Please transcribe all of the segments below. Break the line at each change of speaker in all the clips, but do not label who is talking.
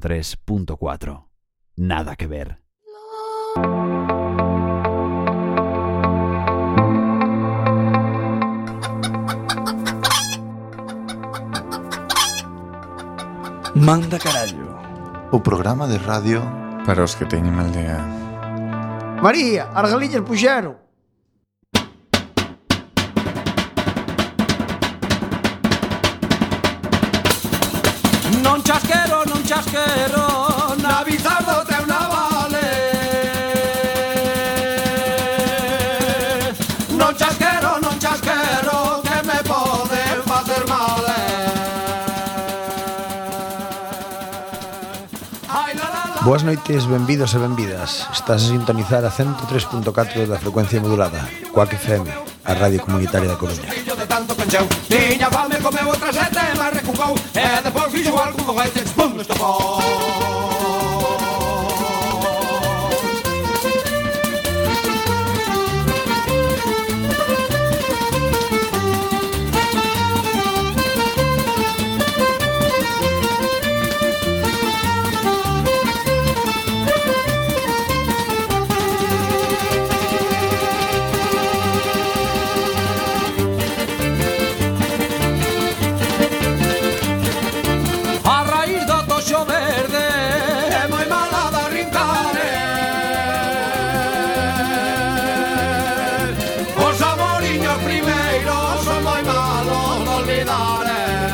103.4. Nada que ver.
Manda carallo.
O programa de radio
Para os que teñen mal día.
María, as galiñas puxeron.
Non chasquero, non chasquero Na bizardo teu navale Non chasquero, non chasquero Que me poden facer mal eh. Ai, la, la, la.
Boas noites, benvidos e benvidas. Estás a sintonizar a 103.4 da frecuencia modulada, Coac FM, a radio comunitaria da Coruña.
Fillo de tanto pencheu Tiña fame, comeu outra sete E máis recucou E depois fixo algo foguete Pum, estopou A raíz do toxo verde É moi mala da rincare Os amoriños primeiros Son moi malos de olvidar eh.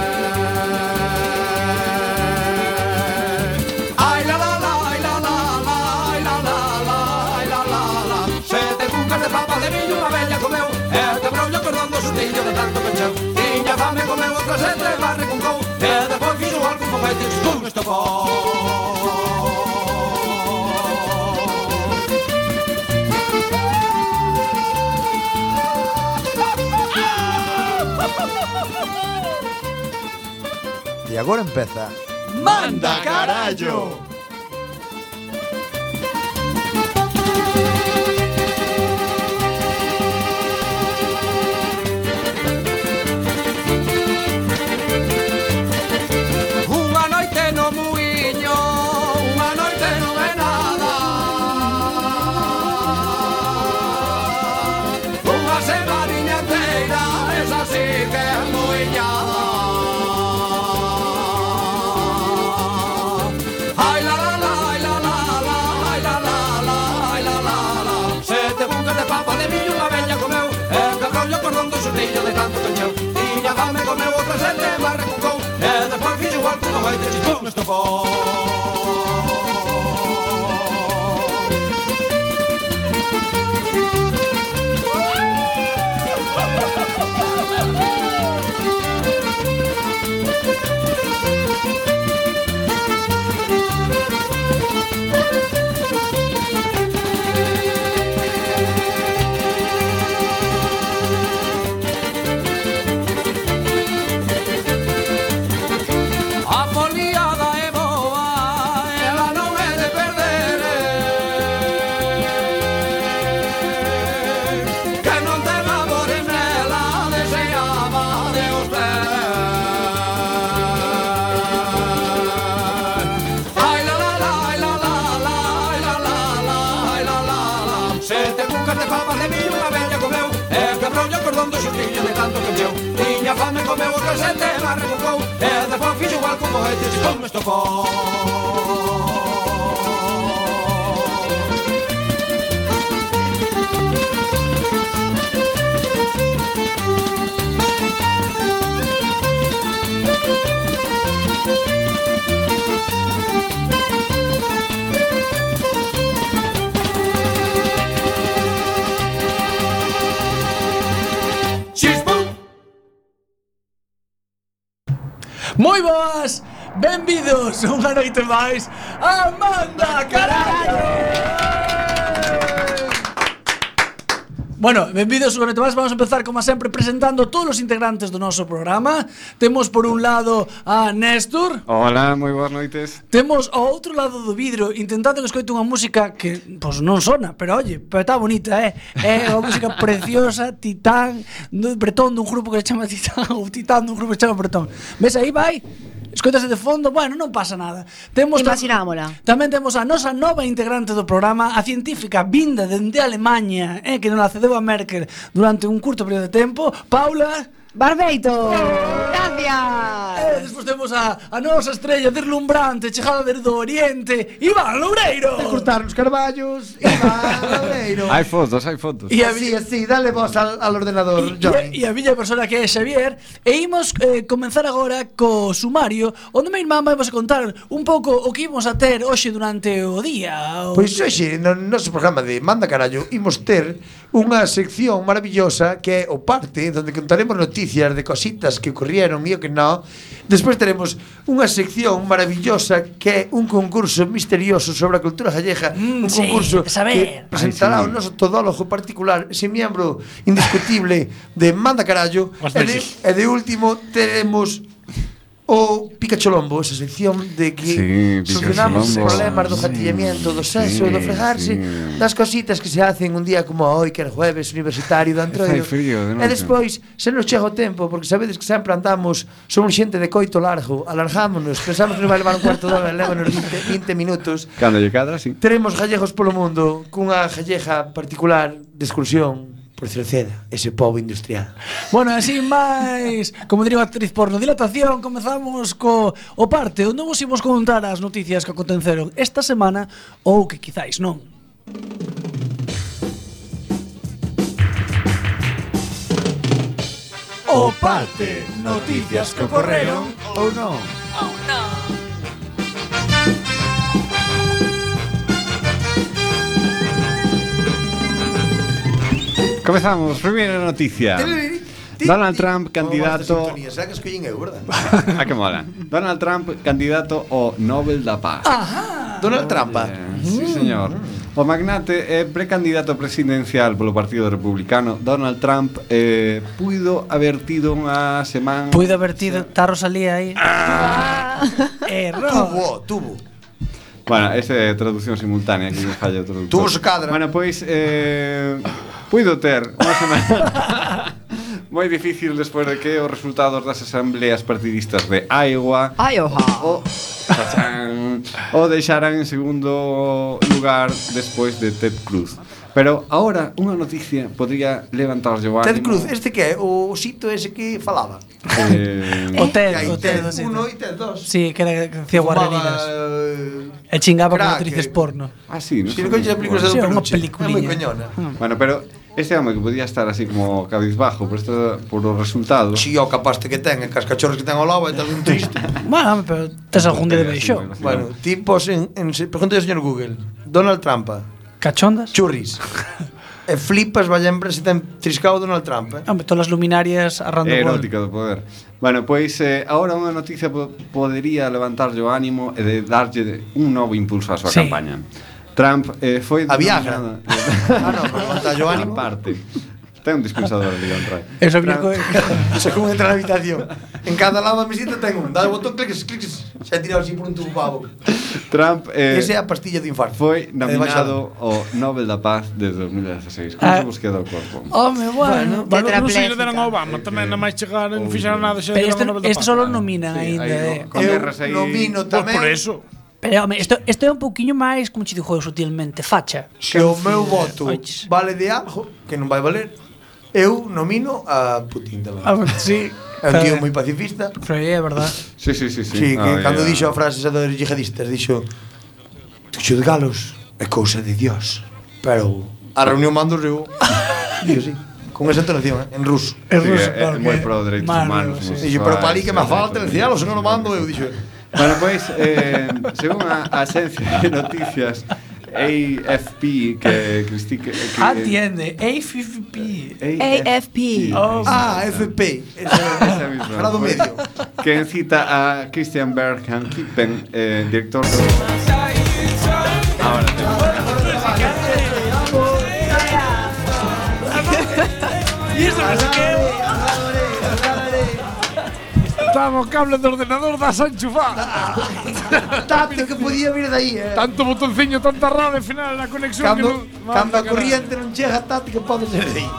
Ai la la la, ai la la la Ai la la la, ai la la la Sete cucas de papa de millo Unha bella comeu E te brollo cordón do sustillo de tanto pecheu Tiña fame comeu outra sete E barre con cou E depois fixo algo con feites Con estopou
E agora empeza
Manda carallo. Unha noite no muiño, unha noite non é nada. Unha semaniña inteira, esa sí que é muiñada. Ai la la la, ai la la la, ai la la la, ai la la la. Sete bucas de papa de millo unha bella comeu, e que rollo cordón do xurrillo de tanto cancheu. Tiña fame comeu outra sete, mas recucou, e despois fixo igual que non hai de chistón estopou. A foliada é boa, ela non é de perder eh. Que non te labores nela, deseaba de usted Ai la la la, ai la la la, ai la la la, ai la la la Sete cucas de papas de millo unha bella comeu E quebrou o cordón do xustillo de tanto que encheu Tiña fame comeu o casete e la recucou E depois fixo igual como este xipón me estopou Chispum!
Moi boas, benvidos unha noite máis a Manda Carallo! Bueno, benvidos unha noite máis, vamos a empezar como sempre presentando todos os integrantes do noso programa Temos por un lado a Néstor
Hola, moi boas noites.
Temos ao outro lado do vidro intentando que escoite unha música que pois non sona, pero olle, pero está bonita, eh? É unha música preciosa, Titán, do Bretón dun grupo que se chama Titán ou Titán dun grupo que se chama Bretón. Ves aí vai? Escoitase de fondo, bueno, non pasa nada. Temos tam-
Imaginámola.
Tamén temos a nosa nova integrante do programa, a científica vinda dende Alemanha, eh, que non la cedeu a Merkel durante un curto período de tempo, Paula...
Barbeito.
E
Gracias.
Eh, despois temos a, a nosa estrella deslumbrante, chegada desde o Oriente, Iván Loureiro.
Cortar los carballos y va al leiro.
Hay fotos, hay fotos.
E a,
Así, así, dale vos al, al ordenador,
E a-
Johnny.
e a miña persona que é Xavier E imos eh, comenzar agora co sumario Onde meu irmán vai vos contar un pouco o que imos a ter hoxe durante o día o...
Pois hoxe, no noso programa de Manda Carallo Imos ter unha sección maravillosa Que é o parte Donde contaremos noticias de cositas que ocurrieron E o que non Despois teremos unha sección maravillosa Que é un concurso misterioso sobre a cultura gallega
Mm,
Un
sí,
concurso
de saber.
que presentará
Ai,
o noso todólogo particular Ese miembro indiscutible de Manda Carallo
Os
E de, e de último teremos O Picacholombo, esa sección de que
Sí,
solucionamos os
Picacholombo.
problemas do
Sí,
gatillamiento, do sexo,
sí,
do fregarse,
sí.
das cositas que se hacen un día como hoy, que é jueves universitario do Antroido.
Fai frío de
e
noite.
despois, se nos chega o tempo, porque sabedes que sempre andamos, somos xente de coito largo, alargámonos, pensamos que nos vai levar un cuarto de hora, levanos 20, 20 minutos.
Cando lle cadra, sí.
Teremos gallegos polo mundo, cunha galleja particular de excursión por Cerceda, ese pobo industrial.
Bueno, así máis Como diría a actriz porno Dilatación Comezamos co o parte Onde vos imos contar as noticias que aconteceron esta semana Ou que quizáis non O parte
Noticias que ocorreron ou non.
Comezamos, primeira noticia. Donald Trump, candidato...
Será que escollín eu, verdad?
A que mola. Donald Trump, candidato ao Nobel da Paz.
Donald Trampa.
Eh, Sí, señor. O magnate e precandidato presidencial polo Partido Republicano, Donald Trump, eh, puido haber tido unha semana...
Puido haber tido Está Rosalía aí Eh, Error
Tuvo, tuvo.
Bueno, esa é traducción simultánea que me falla o traductor.
Tú vos cadra.
Bueno, pois eh, puido ter unha semana moi difícil despois de que os resultados das asambleas partidistas de Iowa
Ai, oja.
o tachán, o deixaran en segundo lugar despois de Ted Cruz. Pero ahora unha noticia podría levantarlle o ánimo.
Ted Cruz, este que é? O sito ese que falaba.
Eh,
O Ted,
Hai
o Ted, o Ted.
uno e Ted dos.
Sí, que era que hacía
Fumaba,
guarreridas.
eh,
E chingaba con
crack,
actrices
eh.
porno.
ah, sí, non
Si
sabía.
non coñeces as películas de
Sí,
Don
unha
Peluche, é moi
peliculiña. Ah.
coñona.
Bueno, pero este home que podía estar así como cabizbajo por, esto, por os resultados
Si o capaste que ten, e cascachorros que ten ao lado, é tal un triste.
Bueno, pero tes algún día de beixo.
bueno, tipos en, en se- pregunta ao señor Google. Donald Trumpa,
Cachondas?
churris. e flipas, vai lembrar se ten triscado Donald Trump, eh?
Hombre, todas as luminarias a random
É Eh, erótica do poder. Bueno, pois eh, ahora unha noticia po podería levantarlle o ánimo e de darlle de- un novo impulso á súa
Sí.
campaña. Trump eh, foi
A Viagra.
denominada-
Ah, no, pero levantarlle o ánimo.
Aparte. Ten un dispensador ali contra.
Eso había que...
Eso é como entra na habitación. En cada lado da mesita ten un. Dá o botón, clics, clics, xa tirado así por un tubo pavo.
Trump eh,
Esa é a pastilla do infarto.
Eh,
Eh,
foi
É de baixada.
nominado ao Nobel da Paz desde 2016. Como
Ah.
se vos queda o corpo?
Home, bueno.
Bueno, non se lle
Tetrapléxica.
deron a Obama, tamén non máis chegar, non fixaron nada, xa
Pero
deron
este,
o Nobel da
este
Paz.
solo nominan
Sí,
ainda,
aí,
eh.
con
Eu
guerras aí-
nomino
Pois
tamén
por eso.
Pero, home, isto, isto é un pouquiño máis, como te dixo eu sutilmente, facha.
Se o meu voto
Oiches.
vale de algo, que non vai valer, eu nomino a Putin tamén.
Ah, sí.
É un
eh.
tío moi pacifista.
Pero é verdad.
Sí, sí, sí, sí.
Sí, que
Ah,
cando
ya.
dixo a frase esa dos yihadistas, dixo xuzgalos é cousa de Dios. Pero a reunión mando eu. Dixo sí, con esa entonación, eh, en ruso.
É
Sí,
ruso,
é-
claro
é moi
que-
pro dereitos
Malo,
humanos.
sí.
Dixo, pero para ali que me falta el cielo, se non o mando eu, dixo.
Bueno, pois, eh, según a a Axencia de Noticias AFP que cristique... Que,
Ah, entiende. AFP.
Eh,
AFP.
Oh,
Ah, FP,
Esa misma.
grado medio.
Que encita a Christian Bergham Kippen, eh, director do...
E isto que se quede. Estaba o cable do ordenador da Sanchufá.
Tanto que podía vir de aí, eh.
Tanto botonciño, tanta rada, al final, na conexión que
Cando,
non-
cando a
Vamos,
corriente non chega tanto que pode ser de aí.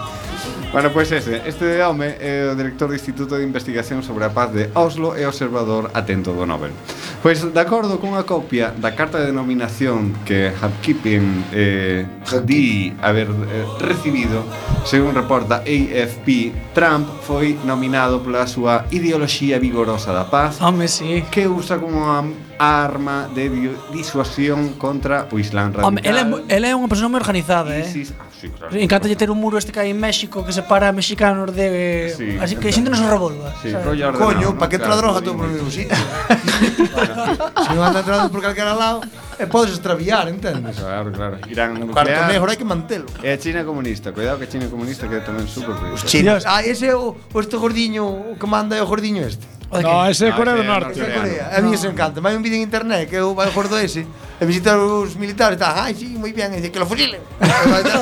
Bueno, pois ese, este de home é o director do Instituto de Investigación sobre a Paz de Oslo e observador atento do Nobel. Pois, de acordo cunha copia da carta de nominación que Hapkipen eh, di haber eh, recibido, según reporta AFP, Trump foi nominado pola súa ideoloxía vigorosa da paz
Home, sí.
que usa como am- arma de di- disuasión contra o Islam radical.
Home, ela é, mu- ela é unha persona moi organizada, eh.
ISIS. Ah, sí, claro.
Encántalle ter un muro este que hai en México que separa mexicanos de... eh,
Sí,
así que a xente non se revolva.
Sí,
sabes?
rollo ordenado,
Coño,
¿no?
para que entra a
Claro,
droga
sí,
todo por
muy
o mesmo sitio? Se non anda entrando por calquera lado, e podes extraviar, entendes?
Claro, claro. Irán
Cuarto
nuclear.
mejor hai que mantelo.
E a China comunista, cuidado que a China comunista que é tamén super
Os
peligrosa.
chinos. Ah, ese é o, o este gordiño, o que manda é o gordiño este.
O de que-
No, ese é
No,
Corea do
ese é
Norte.
Ese é
Coreano.
Corea. A mí se encanta. Vai un vídeo en internet que eu vai o gordo ese e visita os militares, está, ai, sí, moi bien, e dice, que lo fusilen. E vai, tá,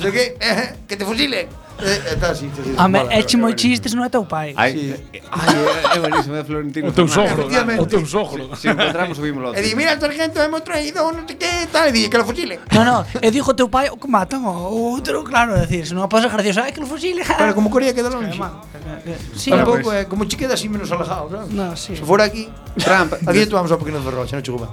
"Sei que, eh, que te fusilen. E, e tá así, tá así.
Home,
Mola.
eche moi chistes, non é teu pai.
Ai,
Sí.
eh, ai, é, é buenísimo, é Florentino.
O teu
Fernández.
sogro.
Efectivamente.
O teu sogro.
Se encontramos, subimos
E di, mira, sargento, hemos traído non sei que, tal, e di, que lo fusilen.
No, no, e dixo teu pai o que matan o outro, claro, é dicir, se non pasa gracioso, ai que lo fusile. ja".
Pero como Corea queda longe.
sí,
Sí,
no,
Tampouco é eh, como che queda así menos alejado, claro.
no, sí.
Se fora aquí,
Trump,
aquí tomamos o pequeno ferro, xa non chupa.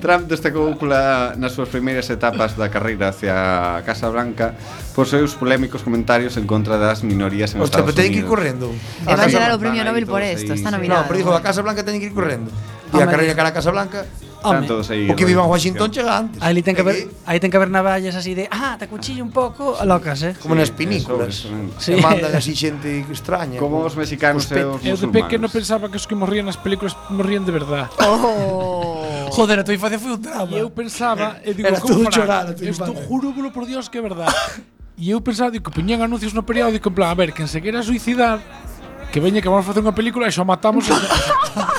Trump destacou pola, nas súas primeiras etapas da carreira hacia a Casa Blanca por seus polémicos comentarios en contra das minorías en
Hostia,
Estados
pero teñen que ir
Unidos.
correndo.
E vai
sí,
a dar
sí.
o premio
Van aí
Nobel por
todos
esto,
aí,
está
sí.
No,
nominado.
pero dijo, a Casa Blanca teñen que ir correndo. E a
Hombre.
carreira cara a Casa Blanca,
Están
Home,
todos aí.
o que viva en Washington chega antes.
Aí ten que
Aquí,
haber,
Eh,
aí ten que haber navallas así de, ah, te cuchillo un pouco, locas, eh.
Como nas
Sí,
pinículas.
eso, eso.
Sí.
Sí. mandan así xente extraña.
Como os
Os
mexicanos e
pe-
os
Eu de
musulmanos.
pequeno pensaba que os que morrían nas películas morrían de verdade.
Oh.
Joder, a tua infancia foi un drama.
E eu pensaba, e digo,
Era
como
todo
farán?
chorar a tua
Eu estou
infancia.
juro por Dios que é verdade. E eu pensaba, digo, que poñían anuncios no periódico en plan, a ver, quen se queira suicidar, que veña que vamos facer unha película e xo matamos. e xa-"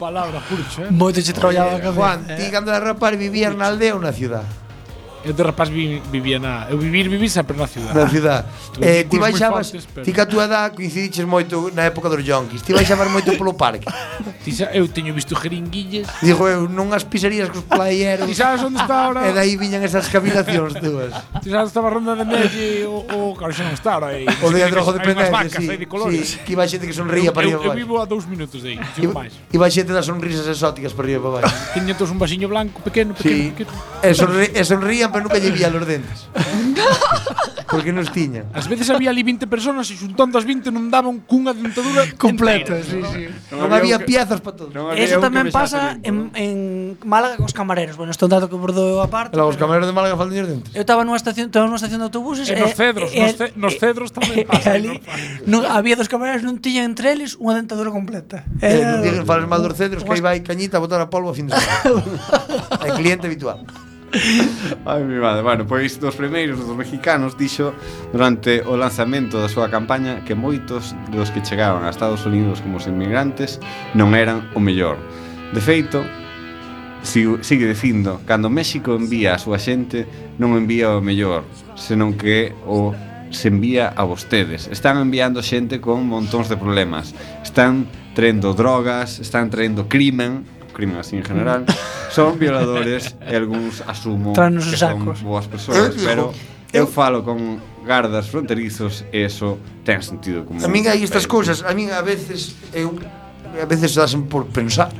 Palabra, purcho, eh.
Moito che traballaba a cabeza.
Juan, ti cando eras rapaz vivías na aldea ou na ciudad?
Eu de rapaz vi, vivía na, eu vivir viví sempre
Na
na ciudad.
ciudad.
Tuve
Eh, ti
vínculos moi
baixabas,
fortes, pero-
ti ca túa edad coincidiches moito na época dos yonkis. Ti baixabas moito polo parque.
Ti xa- eu teño visto jeringuillas.
Digo eu, non as pizzerías cos playeros.
Ti sabes onde está ahora?
e dai viñan esas caminacións túas.
Ti sabes onde estaba a ronda de Nelle o, o claro, xa non está ahora. aí.
O día de
Hai
drogo
unhas
dependencia,
vacas,
sí.
hai de colores.
sí, que iba xente que sonría
eu,
para arriba
eu, eu
para baixo.
vivo a dous minutos de aí, non
Iba-
máis.
Iba xente das sonrisas exóticas para arriba para baixo.
Tiña todos un vasillo blanco pequeno,
Sí.
pequeno, pequeno.
E, sonri e sonrían, pero nunca lle vía los dentes. Porque nos tiñan.
Ás veces había ali 20 personas e xuntando as 20 non daban cunha dentadura
Completo,
sí, sí.
Non había piezas para todo.
Non había
Eso
un eh, que
tamén
me xase
pasa
limpo,
en, en Málaga cos camareros. Bueno, isto é un dato que bordo eu aparte.
Logo, os
pero-
camareros de Málaga faltan os dentes.
Eu estaba nunha estación, estaba nunha estación de autobuses
E nos cedros,
Eh,
nos ce- nos cedros tamén
e- e eh,
pasa,
ali, non, había dos camareros non tiñan entre eles unha dentadura completa.
Eh,
Era-
non digas fales mal dos cedros que aí vai cañita a botar a polvo a fin de semana. É cliente habitual.
Ai, mi madre. Bueno, pois dos primeiros dos mexicanos dixo durante o lanzamento da súa campaña que moitos dos que chegaban a Estados Unidos como os inmigrantes non eran o mellor. De feito, sigo- sigue dicindo, cando México envía a súa xente, non envía o mellor, senón que o se envía a vostedes. Están enviando xente con montóns de problemas. Están traendo drogas, están traendo crimen, crimen así en general, son violadores e algúns asumo
Tranos
que
os
son
sacos.
boas
Eu
persoas,
digo,
pero eu falo con gardas fronterizos e eso ten sentido común. Eh,
A min hai estas
Pero,
cousas, a min a veces eu a veces dasen por pensar.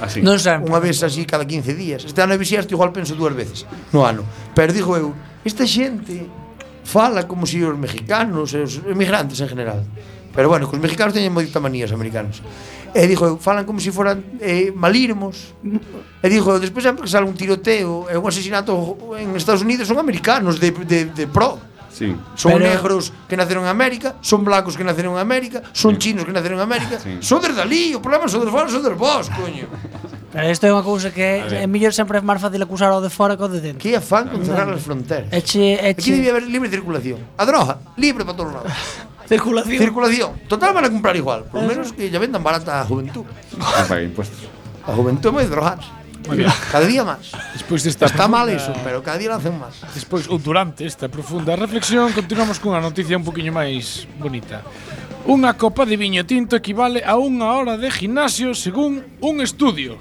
Así.
Non sempre.
Unha vez así cada 15 días. Este ano vixiaste igual penso dúas veces no ano. Pero digo eu, esta xente fala como se os mexicanos e os emigrantes en general. Pero bueno, que os mexicanos teñen moita manía os americanos. E digo eu, falan como se foran eh, malirmos. E digo, eu, despois sempre que sale un tiroteo e un asesinato en Estados Unidos son americanos de, de, de pro.
Sí.
Son
Pero-
negros que naceron en América, son blancos que naceron en América, son chinos que naceron en América,
Sí.
son desde ali, o problema son dos fora, son dos vos, coño.
Pero isto é unha cousa que é mellor sempre é máis fácil acusar ao de fora que ao de dentro.
Que afán con cerrar as fronteras.
Eche,
Aquí
eche
debía haber libre circulación. A droga, libre para todos lados.
circulación.
Circulación. Total van a comprar igual, por lo menos que ya vendan barata a juventud.
Non paga impostos.
A juventud máis drogar. Cada día máis.
Despois desta
Está mal eso, pero cada día lo hacen máis.
Despois ou durante esta profunda reflexión continuamos cunha noticia un poquinho máis bonita. Unha copa de viño tinto equivale a unha hora de gimnasio según un estudio.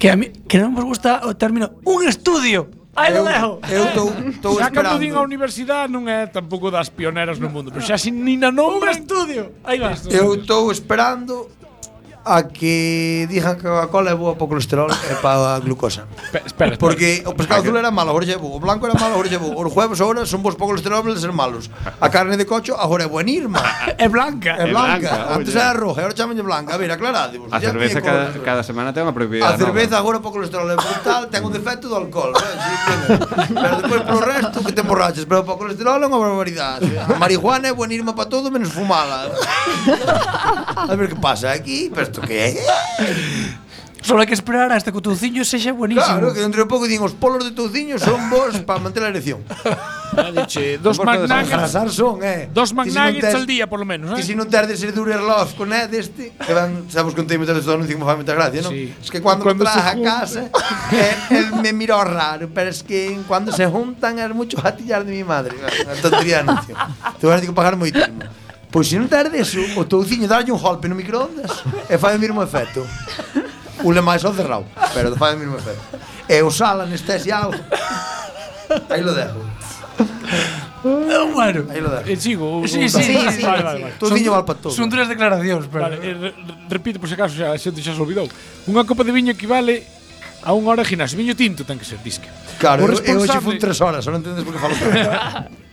Que a mí que non vos gusta o término un estudio. Ai,
eu,
Leo!
eu estou estou
Xa cando din a
esperando.
universidade non é tampouco das pioneras no mundo, pero xa sin nin na
Un
nombran.
estudio. Aí va.
Eu
Eu
estou esperando a que dijan que a Coca-Cola é boa para o colesterol e para a glucosa.
espera, espera.
Porque o pescado azul era malo, agora xa é bo. O blanco era malo, agora xa é bo. Os huevos agora son bons para o colesterol, pero ser malos. A carne de cocho agora é buenirma.
É blanca.
É blanca,
blanca,
antes
oye.
era roja, agora chamanlle blanca. A ver, aclarádevos.
A
Ya
cerveza
tiña
cada,
colesterol.
cada semana ten unha propiedade
A cerveza agora para o colesterol é brutal, ten un defecto do alcohol, non? Sí, tiene. pero despois pro resto que te emborraches, pero para o colesterol é unha barbaridade. A marihuana é buenirma para todo menos fumala. A ver que pasa aquí, pero isto que é?
Solo hai que esperar hasta que o touciño sexa buenísimo.
Claro, que dentro de pouco din os polos de touciño son bons para manter a erección.
Diche, dos
Un pouco de
McNuggets,
Arrasar son, eh. Ti
dos
se non
McNuggets
tes-
al día por lo menos,
Ti
eh.
se non tes de ser duro e love con é deste Que van, sabes, contei moitas veces do anuncio que me fai moita gracia, non?
Sí.
Es que cando, me
Cuando se
traes a
juntan.
casa eh, él me miró raro Pero es que cuando se juntan es mucho jatillar de mi madre Unha tontería de anuncio Te van a ter que pagar moitísimo Pois se non tes deso, o touciño dalle un golpe no microondas E fai o mesmo efecto Un le máis ao cerrado Pero fai o mesmo efecto E o sal anestesiado Aí lo dejo,
Claro. Bueno.
aí lo dejo
Eh, sigo. o-
Sí, sí,
o-
sí,
vale,
sí, sí.
vale, vale, vale.
Touciño val para todo
Son duras declaracións, pero.
Vale, eh, re- re- repito por si acaso, xa, a xente xa se olvidou. Unha copa de viño equivale a unha hora de gimnasio. Viño tinto ten que ser, disque.
Claro,
O
eu, eu hoxe fun
responsable-
tres horas, non entendes por que falo tanto.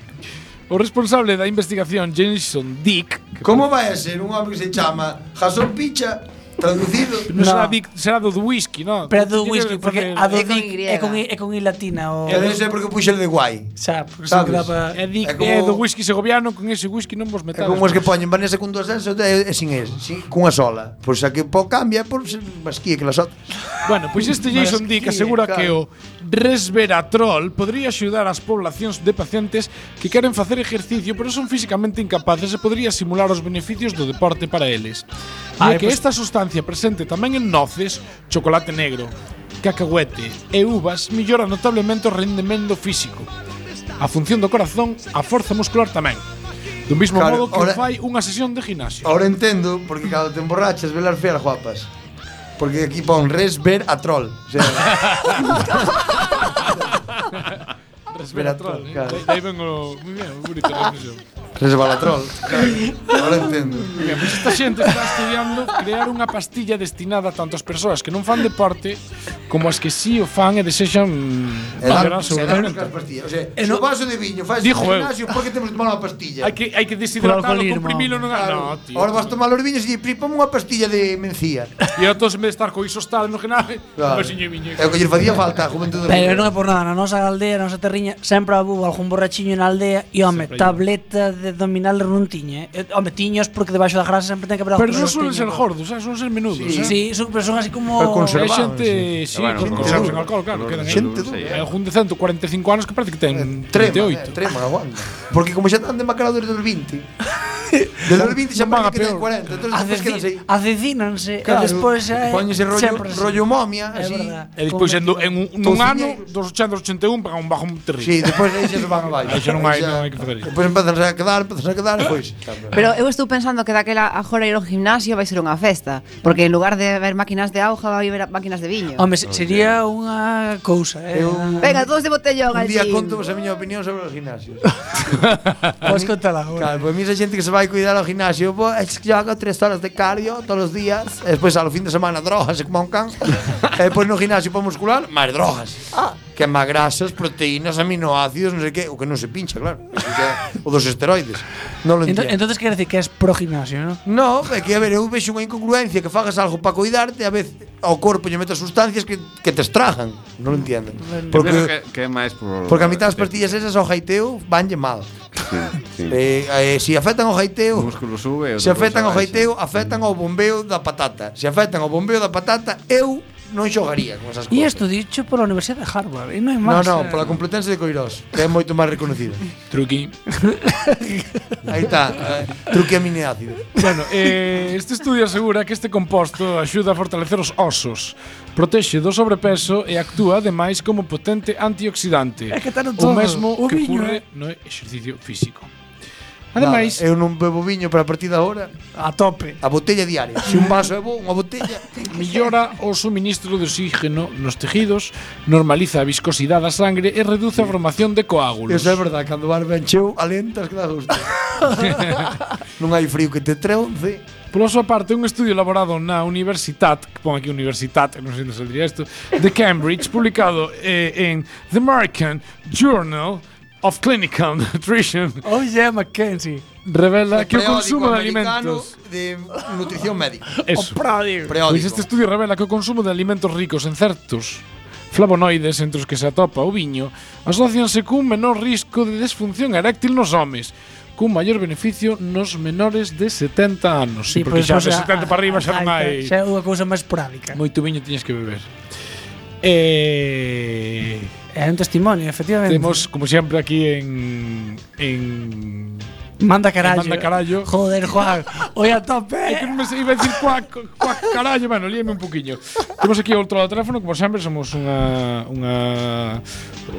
O responsable da investigación, Jameson Dick, que
Como vai a ser un home que se chama Jason Picha traducido?
non
No.
será, Dick, será do whisky, non?
Pero do whisky, porque a do
É con
Dick
Y.
é con I- é con i latina o
Eu non sei por que puxen de guai.
xa, porque se
Sabes?
queda pa-
É, Dick,
É como-
é do whisky segoviano, con ese whisky non vos
É
metades.
como os que poñen Vanessa con dúas S e e sin es, sin, cunha sola. Pois a que po cambia é por ser máis quía que las outras.
Bueno, pois este Jason Dick asegura que o resveratrol podría axudar as poblacións de pacientes que queren facer exercicio pero son físicamente incapaces e podría simular os beneficios do deporte para eles. E
Ai,
é que
pois-
esta sustancia presente tamén en noces, chocolate negro, cacahuete e uvas millora notablemente o rendemento físico, a función do corazón, a forza muscular tamén. Do mesmo
Claro,
modo que
ora-
fai unha sesión de gimnasio.
Ahora entendo porque cada te emborrachas velas feas guapas. Porque aquí pon res ver a troll. O sea,
Resveratrol, eh.
claro.
Dai- Dai ven o... Muy bien, bonito a reflexión.
resbalatrol. Claro. Ahora entendo.
Mira, pois esta xente está estudiando crear unha pastilla destinada tanto ás persoas que non fan deporte como as que si o fan e desexan mm,
E dan,
mellorar o seu
se dan as
rendemento.
pastillas. O sea,
E
se
Eh, no-
o vaso de viño faz
Dijo eu.
gimnasio, por que temos que tomar unha pastilla?
Hai que hai que deshidratarlo,
alcoholismo.
comprimilo, non
Claro.
claro. no, tío.
Ahora vas tomar os viños e di, ponme unha pastilla de mencía.
E a todos en vez de estar co iso estado no pues, genal, claro.
Claro.
pasiño miño.
É o que lle facía falta a juventude.
Pero non é por nada, na nosa aldea, na nosa terriña Sempre abubo algún borrachiño na aldea E, home,
Sempre hai.
tableta de abdominal non tiña eh. Eh, Home, tiños porque debaixo da grasa sempre ten que haber
Pero
algún
non suelen ser
tiño.
gordos, eh, suelen ser menudos.
Sí,
eh.
son, pero son así como
Pero
Hai
conservados,
xente, sí,
Bueno,
que
con
conservan
color-
alcohol, claro,
color
quedan
de
aí.
Xente
dulce,
dura.
eh.
Hai algún de 145 anos que parece que ten
Trema, eh,
38.
trema, aguanta. Porque como xa están demacrados desde os 20. Desde os 20 xa
Non van a
van que ten
peor.
40, entonces despois
Aceci-
quedanse aí.
Acecínanse E despois xa é
Póñese rollo,
sempre así.
rollo momia,
É
así.
verdad.
E despois en, do- en un, nun
Touciño-
ano, dos 80 aos 81, pagan un bajo terrible.
Sí, despois aí xa se van abaixo.
Aí xa non hai- non hai que facer iso.
Despois empezan a quedar, empezan a quedar, e pois.
Pero eu estou pensando que daquela agora ir ao gimnasio vai ser unha festa, porque en lugar de haber máquinas de auga vai haber máquinas de viño.
Home, se- sería unha cousa eh.
Eu-
Venga, todos de botellón
Un
al
día
gym.
conto vos a miña opinión sobre os gimnasios.
Podes contala agora
Claro, pois mira xente que se vai cuidar ao gimnasio, po, es que joga tres horas de cardio todos os días, e despois ao fin de semana drogas e como un can, e despois no gimnasio para muscular, máis drogas. Ah, que máis grasas, proteínas, aminoácidos, non sei que, o que non se pincha, claro. O, que, o dos esteroides. Non lo
Ento-
entendo.
Entonces quer decir que es pro gimnasio, non?
No, é que, a ver, eu vexo unha incongruencia que fagas algo para cuidarte, a vez ao corpo lle metas sustancias que, que te estrajan. Non lo entendo.
Porque que,
Porque,
que é máis por
porque a mitad das pastillas esas ao jaiteo vanlle mal.
Sí, sí.
Eh, eh, si afectan ao
O
jaiteo,
músculo sube,
Se
outra cousa
afectan ao
baixa.
gaiteo, afectan ao bombeo da patata. Se afectan ao bombeo da patata, eu non xogaría con esas cousas.
E isto dicho pola Universidade de Harvard E non é
No,
máis
no,
eh.
pola Complutense de Coirós, que é moito máis reconocida.
Truqui.
Aí está, eh, truque aminoácido.
Bueno, eh, este estudio asegura que este composto axuda a fortalecer os osos, protexe do sobrepeso e actúa ademais como potente antioxidante.
É que tá no
o
todo.
mesmo
O
que
viño,
ocurre
eh.
no exercicio físico. Ademais,
Nada, eu non bebo viño para a partir de agora
A tope.
a botella diaria. Se un vaso é bo, unha botella.
Millora o suministro de oxígeno nos tejidos, normaliza a viscosidade da sangre e reduce a formación de coágulos.
Eso é verdade, cando vas ben cheu, alentas que dá gusto. non hai frío que te treunce.
Pola súa parte, un estudio elaborado na Universitat, que pon aquí Universitat, non sei onde saldría isto, de Cambridge, publicado eh, en The American Journal of Clinical Nutrition,
Oh yeah, Mackenzie.
revela que o consumo de
americano
alimentos...
de nutrición médica.
Eso.
Pródigo.
Periódico.
Pois este estudio revela que o consumo de alimentos ricos en certos flavonoides entre os que se atopa o viño asocianse cun menor risco de desfunción eréctil nos homes cun maior beneficio nos menores de 70 anos. Sí,
pois
porque xa de 70 para arriba xa non hai...
Xa é unha cousa máis prádica.
Moito viño tiñes que beber. Eh,
É un testimonio, efectivamente.
temos, como sempre, aquí en... en
Manda carallo.
Manda carallo.
Joder, Juan. Hoy a tope.
É que non Eh, me sei- iba a decir cuac, cuac carallo, bueno, líeme un poquinho. Temos aquí outro lado do teléfono, como sempre, somos unha, unha,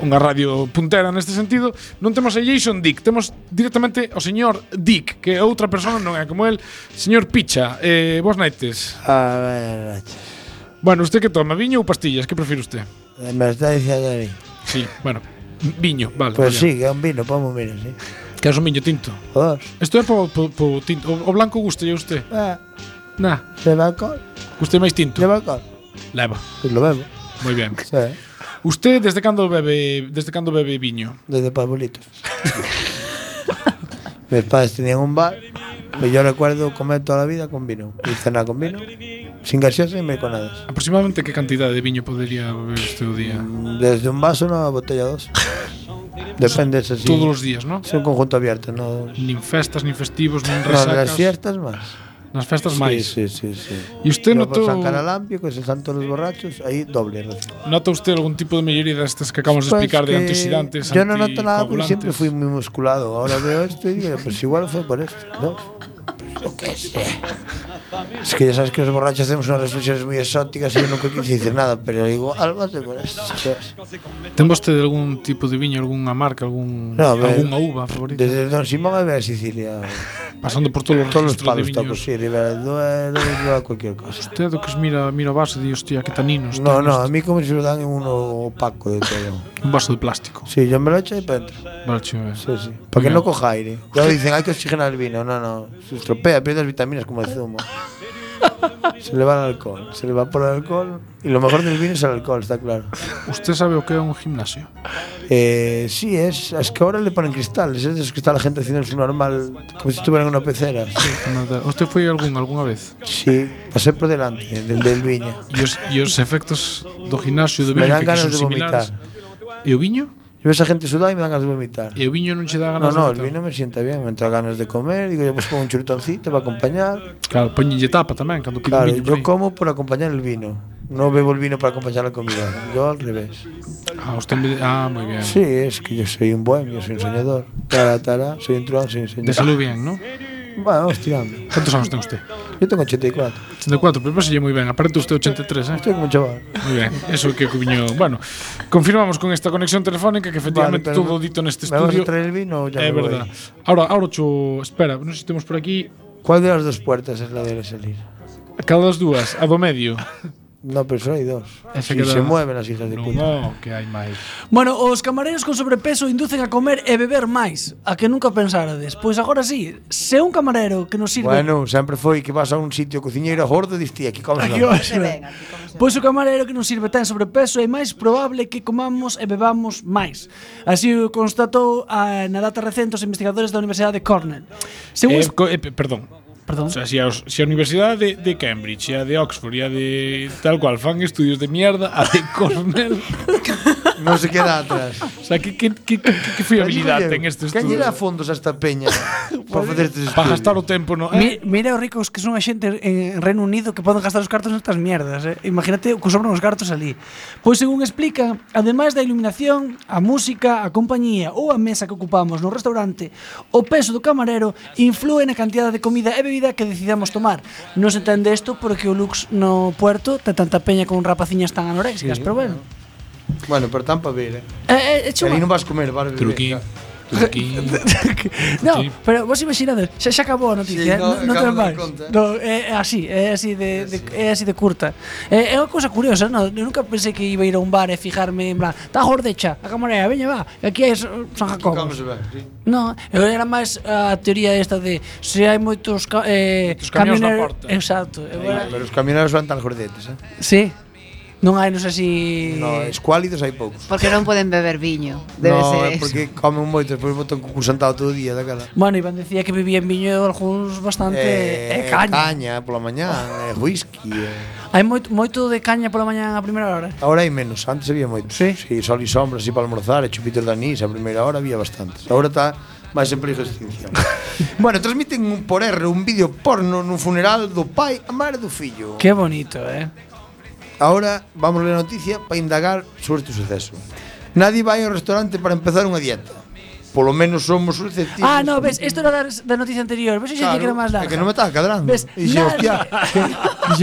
unha radio puntera neste sentido. Non temos a Jason Dick, temos directamente o señor Dick, que é outra persona, non é como el, señor Picha. Eh, vos noites.
A
Bueno, usted que toma, viño ou pastillas? Que prefire usted?
ver, me está diciendo a mí.
Sí, bueno, viño, vale.
Pues
vale.
sí, que é un vino, ponme un vino, sí. Oh,
Que é un viño tinto.
Dos.
Isto é po, po, po tinto. O, o blanco gusta a usted?
Ah,
Nah,
lleva alcohol,
gusta máis tinto.
lleva alcohol.
Leva.
Pues lo bebo,
Moi ben.
sí.
Usted desde cando bebe, desde cando bebe viño?
desde pabolitos. Mis padres tenían un bar, pues yo recuerdo comer toda la vida con vino. Y cenar con vino, sin gaseosa y merconadas.
Aproximadamente que cantidad de viño podría beber usted o día?
Desde un vaso una botella dos. Depende, eso sí.
Todos os días, ¿no?
Es un conjunto abierto, no.
Nin festas, nin festivos, nin
No, las
resacas.
fiestas más.
nas festas máis.
Sí, sí, sí. sí.
E usted
Yo por
notou
San Caralampio, que es el santo de los borrachos, ahí doble. recibo.
nota usted algún tipo de melloría destas que acabamos de
Pues
explicar de
que
antioxidantes,
Yo no noto nada porque siempre
anticoagulantes?
fui muy musculado. Ahora veo esto y digo, pues igual fue por esto. ¿no? Pues yo qué sé. Es que ya sabes que los borrachos hacemos unas reflexiones muy exóticas y yo nunca quise decir nada, pero digo, algo hace por esto. ¿sabes?
Ten vostede algún tipo de viño, algunha marca, algún
No, a ver,
algunha uva favorita?
Desde Don Simón a ver Sicilia.
Pasando por todos os
Todos los
registros de
palos
viños.
tacos, sí, Ribera del Duero, Bilbao, cualquier cosa.
Usted o que os mira, mira o vaso e di, hostia, que taninos.
No,
ten
no, a
isto".
mí como si me dan en uno opaco de todo.
Un vaso de plástico.
Sí, yo me lo echo y para adentro.
Vale, eh. chive.
Sí, sí. Para que no coja aire. Luego dicen, hay que oxigenar el vino. No, no. Se estropea, pierde las vitaminas como el zumo. Se le va el alcohol. Se le va por el alcohol. Y lo mejor del vino es el alcohol, está claro.
Usted sabe o que é un gimnasio?
Eh, sí, es, es que ahora le ponen cristales. Es de esos que está la gente haciendo su normal, como si estuvieran en una pecera. Sí.
Nada. Usted foi algún algunha vez?
Sí, pasé por delante del, del viño.
E os, e os efectos do gimnasio e do
Me
viño
dan
que, que
ganas
son
de
similares?
vomitar.
E o viño?
Yo veo a esa gente sudada y me dan ganas de vomitar.
E o viño non che dá
No,
ganas
no, el
de vomitar?
vino me sienta bien. Me entra ganas de comer. Digo, yo pues pongo un churritoncito para acompañar.
Claro, poñenlle tapa tamén cando pide
Claro,
viño
yo
por aí.
como por acompañar el vino. No bebo el vino para acompañar la comida. Yo al revés.
Ah, usted me... ah, moi ben.
Sí, es que yo soy un bohemio, soy un soñador. Tara, tara, soy un truán, soy un
De
soñador.
salud bien, non?
Bueno, vamos tirando.
Cantos anos ten usted?
Yo tengo 84.
84, pero paselle moi ben. Aparente usted 83, eh?
Estoy como un chaval.
Muy bien, eso que o viño... Bueno, confirmamos con esta conexión telefónica que efectivamente
pero
todo dito neste
¿Me vas a
estudio
traer el vino o ya
é
me voy?
verdad. Ahora, ahora cho... Espera, non sei se temos por aquí
¿Cuál de las dos puertas es la de salir?
cada das dúas, a do medio.
No, pero solo hay dos.
Esa
Si
queda-
se mueven las hijas de
Non,
puta.
no, que hai máis.
Bueno, os camareiros con sobrepeso inducen a comer e beber máis, a que nunca pensarades. Pois agora sí, se un camarero que nos sirve
Bueno, siempre fue que vas a un sitio cociñeiro gordo y diste aquí comes
Aquí
la
vai,
mano".
se vai. Pois o camarero que non sirve ten sobrepeso é máis probable que comamos e bebamos máis. Así o constatou ah, na data recente os investigadores da Universidade de Cornell. Según es-
Eh, co- eh, pe- perdón.
Perdón.
O sea, si a, os- si a Universidade de, de Cambridge, e a de Oxford, e a de tal cual fan estudios de mierda, a de Cornell.
No se queda atrás.
o sea, que, que, que, que, que fiabilidade ten este
Que
estudio?
a fondos a esta peña para este facer estes
Para
estudios.
gastar o tempo no...
Mi,
Eh?
mira os ricos que son a xente en Reino Unido que poden gastar os cartos nestas mierdas, eh? Imagínate o que sobran os cartos ali. Pois según explica, ademais da iluminación, a música, a compañía ou a mesa que ocupamos no restaurante, o peso do camarero influe na cantidad de comida e bebida que decidamos tomar. Non se entende isto porque o lux no puerto te tanta peña con rapaciñas tan anoréxicas, sí, pero bueno.
Bueno, pero tan para ver, eh.
É, é,
Que
é chunga.
ali non vas comer, vas beber.
Truquín.
claro.
Turquí.
no, pero vos imaginades, xa, xa acabou a
Sí,
noticia, eh,
no,
non no,
acabo de
ten máis.
dar conta.
No, é, é así, é así de, de é así de curta. Eh, É, é unha cousa curiosa, non? Eu nunca pensei que iba a ir a un bar e fijarme en plan, está gordecha, a camarera, veña va, que aquí é San Jacobo.
Vamos a ver, sí.
No, eu era máis a teoría esta de se hai moitos ca, eh,
Moitos camións na
camioneros-
porta.
Exacto, eu era,
Pero os camioneros van tan gordetes, eh?
sí. Non hai, non sei si
No, escuálidos hai poucos.
Porque non poden beber viño.
no,
Debe ser
é
eso.
porque comen moito, despois botan concursantado todo o día daquela.
Bueno, Iván decía que vivía en viño algúns bastante eh, caña.
caña pola mañá, é whisky. É...
Hai moito, moito de caña pola mañá a primeira hora.
Ahora hai menos, antes había moito.
Sí?
sí sol e sombra, así para almorzar, e chupitos de anís, a primeira hora había bastantes. Ahora está máis en perigo de extinción. bueno, transmiten un por erro un vídeo porno nun funeral do pai a mare do fillo.
Qué bonito, eh.
Ahora vamos a ler a noticia para indagar sobre este suceso. Nadie vai ao restaurante para empezar unha dieta. Polo menos somos susceptibles.
Ah, no, ves, esto era da, da noticia anterior. Ves, claro, que era máis
É
larga.
que non me estás cadrando.
Ves,
Dixen,
nadie-
hostia, que-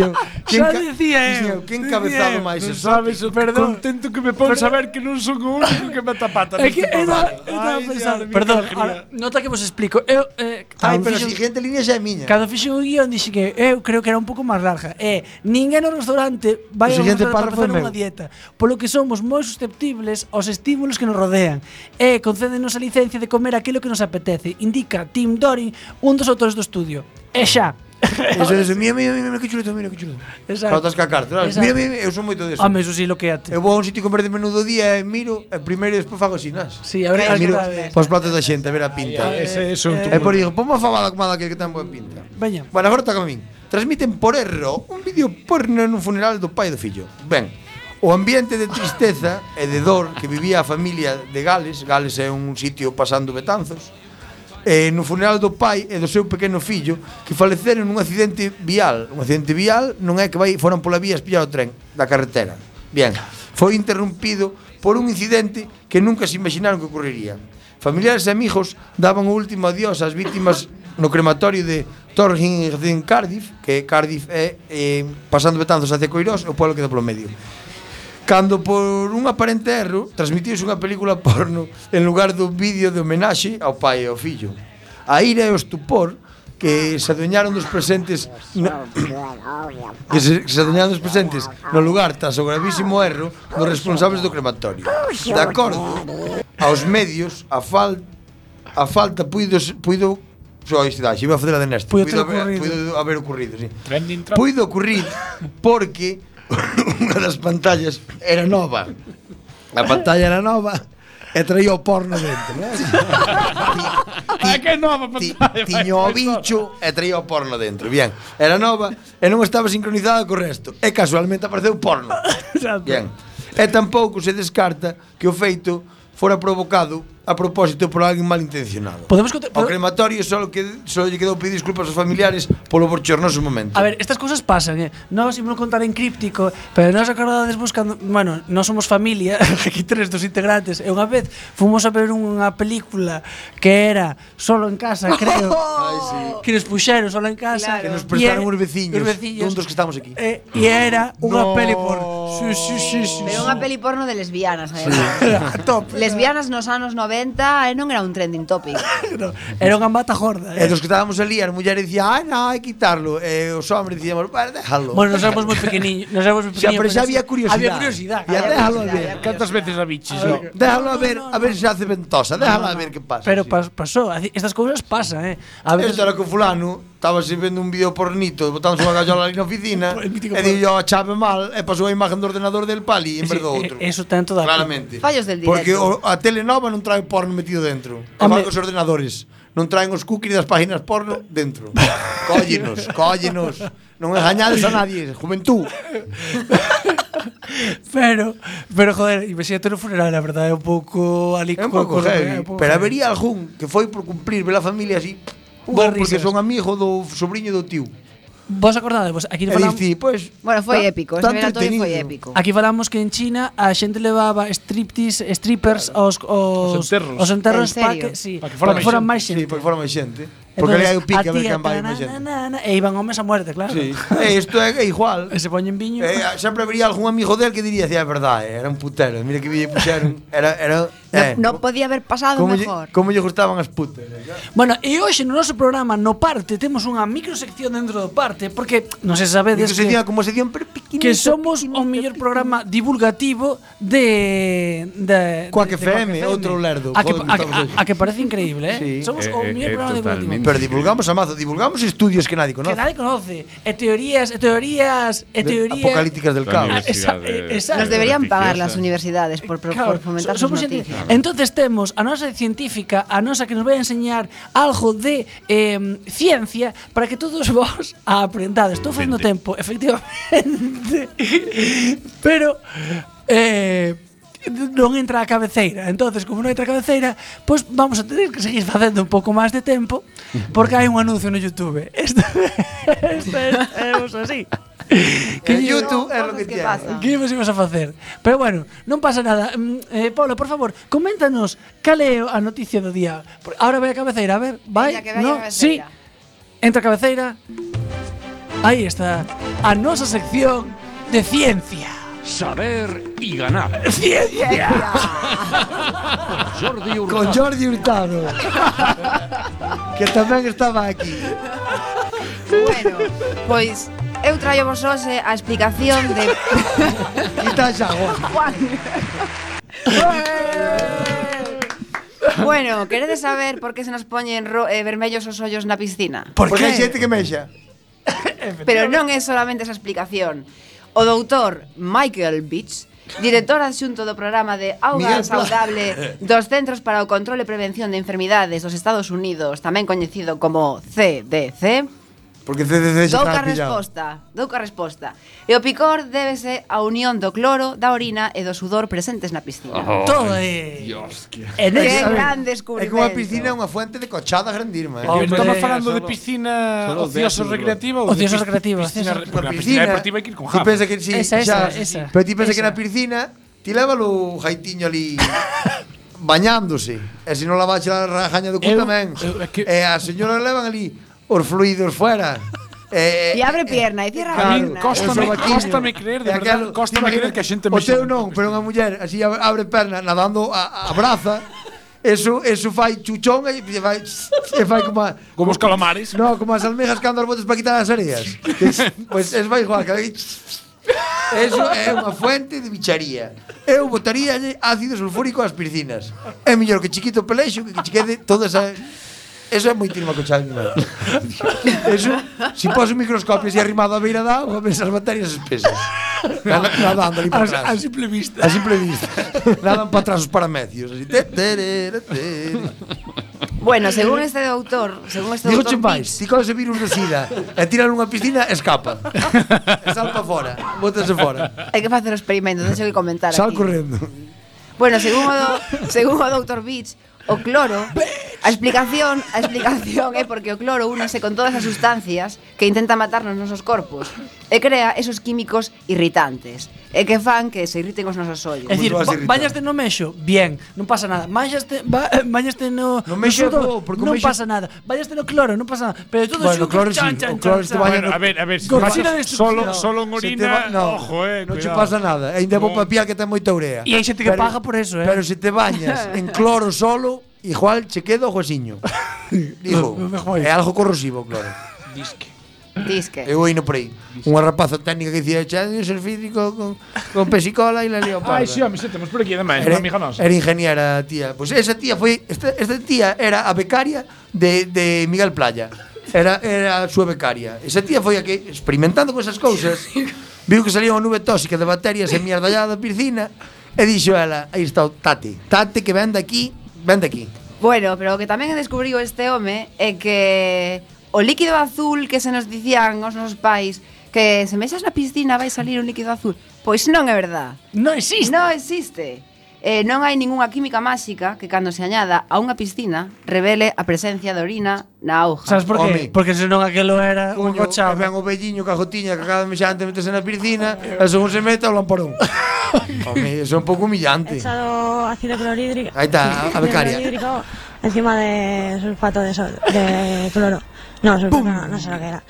dixen,
Xa
ca-
dicía
dixen,
eu.
que
dicía
encabezado
eu.
máis
Non
exótico.
sabes o perdón. contento que me pones saber que non son o único que mete a pata
É que
neste
eu
programa.
estaba
Ai,
pensando,
Dios, mi
perdón,
alegría.
ahora, nota que vos explico. Eu, eh,
Ai,
cando
pero a
fixen-
siguiente línea xa é miña.
Cando fixen o guión dixen que eu creo que era un pouco máis larga. E ninguén no restaurante
O
vai ao
siguiente párrafo
restaurante para
é
facer
meu.
unha dieta, polo que somos moi susceptibles aos estímulos que nos rodean. E concédenos a licencia de comer aquilo que nos apetece, indica Tim Dorin, un dos autores do estudio. E xa.
Eso, eso, mira, mira, mira, mira, que chulo, mira, que chulo.
Exacto.
Para estás cacarte, sabes?
Exacto.
Mira, mira, mira, eu son moito deso.
Home, eso sí, lo que
Eu
ate.
vou a un sitio a comer de menudo día e "Eh, miro, e primeiro e despois fago xinas.
Sí, a ver, a ver Ah,
miro
que tal é.
para os platos da xente, a ver a pinta.
Ese es un
E por digo, ponme a fabada como daquele que tan boa pinta.
Veña.
Bueno, agora toca a min. Transmiten por erro un vídeo porno nun funeral do pai do fillo. Ben, o ambiente de tristeza e de dor que vivía a familia de Gales, Gales é un sitio pasando Betanzos, eh, no funeral do pai e do seu pequeno fillo que faleceron nun accidente vial. Un accidente vial non é que vai foran pola vía espillado o tren da carretera. Bien, foi interrumpido por un incidente que nunca se imaginaron que ocurriría. Familiares e amigos daban o último adiós ás vítimas no crematorio de Torhin en Cardiff, que Cardiff é eh, pasando Betanzos hacia Coirós, o pueblo que queda polo medio. Cando por un aparente erro transmitiuse unha película porno en lugar do vídeo de homenaxe ao pai e ao fillo. A ira e o estupor que se adueñaron dos presentes na, que se, que se adueñaron dos presentes no lugar tras o gravísimo erro dos responsables do crematorio. De acordo aos medios, a fal a falta puido puido Sois da, iba a facer a de Néstor.
Puido
Puido
ter
haber,
ocurrido.
puido haber ocurrido, sí.
Trending trap.
Puido ocurrir porque unha das pantallas era nova. A pantalla era nova e traía o porno dentro, non?
Ah, que nova
Ti-
pantalla.
Tiño o bicho e traía o porno dentro. Bien, era nova e non estaba sincronizada co resto. E casualmente apareceu porno.
Exacto.
Bien. E tampouco se descarta que o feito fora provocado a propósito por alguén malintencionado.
Podemos contar-
O crematorio só que só lle quedou pedir disculpas aos familiares polo borchornoso momento.
A ver, estas cosas pasan, eh. No si me lo contar en críptico, pero no os acordades buscando, bueno, no somos familia, aquí tres dos integrantes. E unha vez fomos a ver unha película que era Solo en casa, creo. Que nos puxeron Solo en casa.
Claro. Que nos
e
prestaron
era-
uns veciños,
Os veciños.
dun dos que estamos aquí.
E, e era unha peli por. Sí, sí, sí, sí. sí.
Pero unha peli porno de lesbianas, ademais.
Era a top.
Lesbianas nos anos 90 e non era un trending topic.
No, Era unha mata gorda.
E
Eh.
dos que estábamos ali, as mulleres dicían, ai, non, hai que quitarlo. E os homens dicíamos, bueno, déjalo.
Bueno, nos éramos moi pequeniños, nos éramos moi
Xa,
pequeniños.
pero xa había curiosidade.
Había curiosidade.
Ya,
Había
déjalo
curiosidade,
ver.
había
¿Cuántas
curiosidade.
veces ha bicho?
déjalo a ver,
no,
a ver se hace ventosa, déjalo a ver que pasa.
Pero
sí.
pas, pasou, así- estas cousas pasan, eh. A veces
Esto era que o fulano estaba vendo un vídeo pornito, botamos unha gallola ali na oficina,
El mítico
e dio a chave mal, e pasou a imagen do ordenador del pali e en vez do
Sí,
outro.
eh, Eso ten toda a culpa.
Claramente.
Fallos del directo.
Porque o, a tele nova non trae porno metido dentro.
Home.
Igual que os ordenadores. Non traen os cookies das páginas porno dentro. cóllenos, cóllenos. Non engañades a nadie, juventud.
Pero, pero joder, imagínate no funeral, a verdade, é un pouco ali
É un
co-
pouco
co- é
heavy.
un pouco
Pero
heavy.
habería algún que foi por cumprir pela familia así.
Boas
Ou porque
risas.
son amigo do sobrinho do tío.
Vos acordades, vos, aquí
E
falamos,
dici, pois...
Bueno, foi
tá-
épico,
tá
ese veratorio foi
entretenido.
épico.
aquí falamos que en China a xente levaba striptease, strippers aos, aos
Os enterros.
Os enterros
En
para
serio?
que, sí,
Pa que fora máis
foran
xente.
máis
Sí,
xente.
porque fora máis xente. Porque ali hai o pique a ver quen vai máis xente.
E iban homes a muerte, claro.
Sí. Eh, Isto é é igual.
E se poñen viño.
Eh, sempre habría algún amigo del que diría, "Sí, é verdade, era un putero, mira que lle puxeron, era era
Eh,
no, no podía haber pasado
como, lle,
mejor.
como lle gustaban as putas.
eh,
Bueno, e hoxe no noso programa no parte temos unha microsección dentro do parte porque non se sabedes
Dixo se
que,
día como se día pero pequenito.
que somos o mellor programa divulgativo de de
Coac
de- de
FM,
Coac
outro lerdo.
A que,
Joder,
a, a,
estamos-
a que parece increíble, eh?
Sí.
Somos
Eh,
o mellor
eh, eh,
programa divulgativo.
totalmente.
Pero divulgamos a mazo, divulgamos estudios que nadie
Que
conoce.
nadie conoce. E teorías, e teorías, e teorías.
Apocalípticas del
La
caos.
universidad.
Ah, Esa-
de-
esa-
Nos deberían pagar
Noticiosa.
las universidades por, pro- por fomentar
so-
sus
cienti-
noticias.
Eh,
Entonces temos a nosa científica, a nosa que nos vai a enseñar algo de eh, ciencia para que todos vos a aprendades. Estou facendo
Vente.
tempo, efectivamente. Pero eh, non entra a cabeceira. Entonces, como non entra a cabeceira, pois pues vamos a tener que seguir facendo un pouco máis de tempo porque hai un anuncio no YouTube. Esto, esto es, es así.
Que
lle-
YouTube
No,
é lo
cosas
que
que
tiene.
pasan.
Que vos ibas a facer? Pero bueno, non pasa nada. Mm, eh, Pablo, por favor, coméntanos cal é a noticia do día. Por- Ahora vai a cabeceira, a ver, vai.
Venga, que vaya
no, sí.
cabeceira.
Entra a cabeceira. Aí está a nosa sección de ciencia.
Saber y ganar.
Ciencia.
Jordi
Con Jordi Hurtado.
Ah,
que tamén estaba aquí.
Bueno, pois eu traio vos hoxe a explicación de
Quita xa agora.
Juan. bueno, queredes saber por que se nos poñen ro- eh, vermellos os ollos na piscina?
Por
Porque hai
que?
xente que mexa.
Pero non é solamente esa explicación. O doutor Michael Beach Director adxunto do programa de Auga
Miguel Pla-
Saudable dos Centros para o Control e Prevención de Enfermidades dos Estados Unidos, tamén coñecido como CDC,
Porque CCC xa
Douca
está pillado.
resposta, douca resposta. E o picor débese á unión do cloro, da orina e do sudor presentes na piscina.
Oh,
Todo é.
Dios, que...
En
Que
esa-
gran
É
descubrimento.
que unha piscina é unha fuente de cochada grandísima.
Oh,
eh.
Hombre,
Pero estamos falando de
solo-
piscina
solo
ocioso
de-
recreativa ou
Ocioso
de pis-
recreativa,
Piscina,
ocioso-
porque a piscina deportiva hai que ir con
Ti
jabas.
pensa que si,
Esa, esa,
xa,
esa.
Pero ti pensa que na
Esa.
piscina ti lévalo o jaitiño ali bañándose. E se non la vas a rajaña do cu
Eu-
tamén.
eu- é que-
E a señora levan ali os fluidos fuera. E,
E abre pierna e cierra
A
claro,
min
pierna. eh.
cóstame,
Eso vaquiño.
cóstame creer, de
e
verdade,
aquelo-
cóstame
ti
creer que a xente me
O teu non, pero unha muller así abre- abre perna nadando a, a braza. Eso, eso fai chuchón e fai, e fai como a,
Como os calamares.
No, como as almejas cando as botes para quitar as areas. Pois pues es vai igual, que aí- Eso é unha fuente de bicharía. Eu botaría eh, ácido sulfúrico ás piscinas. É mellor que chiquito pelexo que que che quede toda esa Eso é moitísima cochada animal. Eso, se pos un microscopio así arrimado á beira da agua, ves as bacterias espesas. Nada- Nadando ali para
A, a
atrás.
simple
A
vista.
simple vista. Nadan para atrás os paramecios. Así. Te, terere, tere.
Bueno, según este doutor, según este
Digo
doutor
máis,
Pitts,
ti coges o virus do SIDA e tiran nunha piscina, escapa. E salpa fora, bótase fora.
hai que facer o experimento, teño que comentar
Sal
aquí.
correndo.
Bueno, según o, do, según o doutor Beach, o cloro, a explicación, a explicación é porque o cloro únese con todas as sustancias que intenta matar nos nosos corpos e crea esos químicos irritantes e que fan que se irriten os nosos ollos.
É dicir,
vas
ba-
irritar.
bañaste no mexo, bien, non pasa nada. Bañaste, ba, bañaste no,
No mexo é bo,
sudor,
porque o
non
mexo-
pasa nada. Bañaste no cloro, non pasa nada. Pero todo
Bueno, o
xunto,
cloro sí,
chan,
o
chan,
cloro
chan,
se te
chan.
baña
Bueno, a ver, a ver, si
Con
vas-
vacina de
solo,
instrucción.
solo en
Se te
orina,
va- no,
ojo, eh,
Non che
cuidado.
pasa nada, ainda vou
Con-
pa piel que ten moita urea.
E hai xente que paga por eso, eh.
Pero se te bañas en cloro solo, igual che queda o huesiño. Digo,
No, no me jodes.
é algo corrosivo, claro.
Disque.
Eu oino por aí. Unha rapaza técnica que dicía, xa de físico con, con pesicola e la leoparda.
Ai, si, home, sentemos por aquí ademais,
Era,
unha amiga nosa.
era ingeniera a tía. Pois esa tía foi esta, esta tía era a becaria de, de Miguel Playa. Era era a súa becaria. Esa tía foi a que experimentando con esas cousas viu que salía unha nube tóxica de bacterias e mierda allá da piscina e dixo ela, aí está o Tate. Tate que vende aquí, vende aquí.
Bueno, pero o que tamén descubriu este home é que o líquido azul que se nos dicían os nosos pais que se mexas na piscina vai salir un líquido azul. Pois non é verdad.
Non existe.
Non existe. Eh, non hai ningunha química máxica que cando se añada a unha piscina revele a presencia de orina na auga.
Sabes por qué?
Home.
Porque senón aquilo era un
Coño, e
cochado.
ven o velliño cajotiña que acaba de mexer antes de meterse na piscina e según se meta o lamparón. Home, eso é un pouco humillante.
echado ácido clorhídrico.
Ahí está, a- a becaria.
Clorhídrico encima de sulfato de, sol- de cloro.
Non, sei o que era, non sei o que era.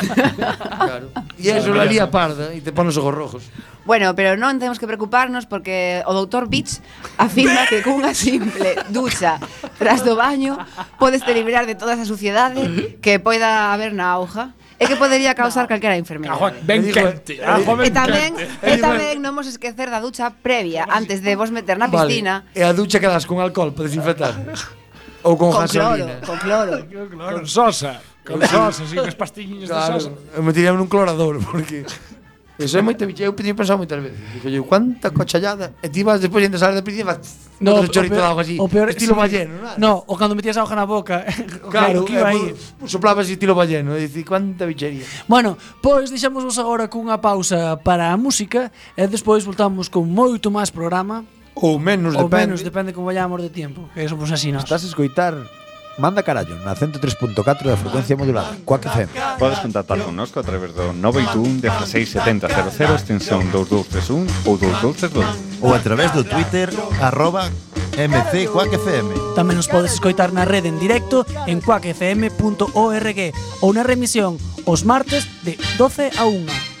Claro. E eso la lía parda e te pones ojos rojos.
Bueno, pero non temos que preocuparnos porque o doutor Beach afirma que cunha simple ducha tras do baño podes te librar de toda esa suciedade que poida haber na auga e que podería causar calquera enfermedade.
Ben
digo,
quente.
eh,
Ah,
eh,
joven
E tamén, e
quente.
tamén non mos esquecer da ducha previa antes de vos meter na piscina
E a ducha que das con alcohol para desinfectar. Ou con,
con cloro,
gasolina.
con cloro.
Con sosa. Con sosa, sí, as pastilliñas de sosa.
Claro, eu metiría nun clorador porque Eso é moito bicho, eu teño pensado moitas veces. Dixo eu, cuánta cochallada. E ti vas despois de salir da piscina, vas
o
no, otro chorrito de
peor-
agua así.
o peor-
estilo
sí.
balleno, non?
No, o cando metías a hoja na boca.
Claro,
que, que iba
eh,
aí.
pu- soplabas estilo balleno, e dicir, cuánta bichería.
Bueno, pois deixámosvos agora cunha pausa para a música e despois voltamos con moito máis programa
Ou menos,
ou
depende.
menos, depende como vayamos de tempo, que somos así nós.
Estás a escoitar Manda Carallo na 103.4 da frecuencia modulada Quack FM
Podes contactar connosco a través do 921 167000 extensión 2231 ou 2232.
ou a través do Twitter arroba mcquackfm.
Tamén nos podes escoitar na rede en directo en quackfm.org ou na remisión os martes de 12 a 1.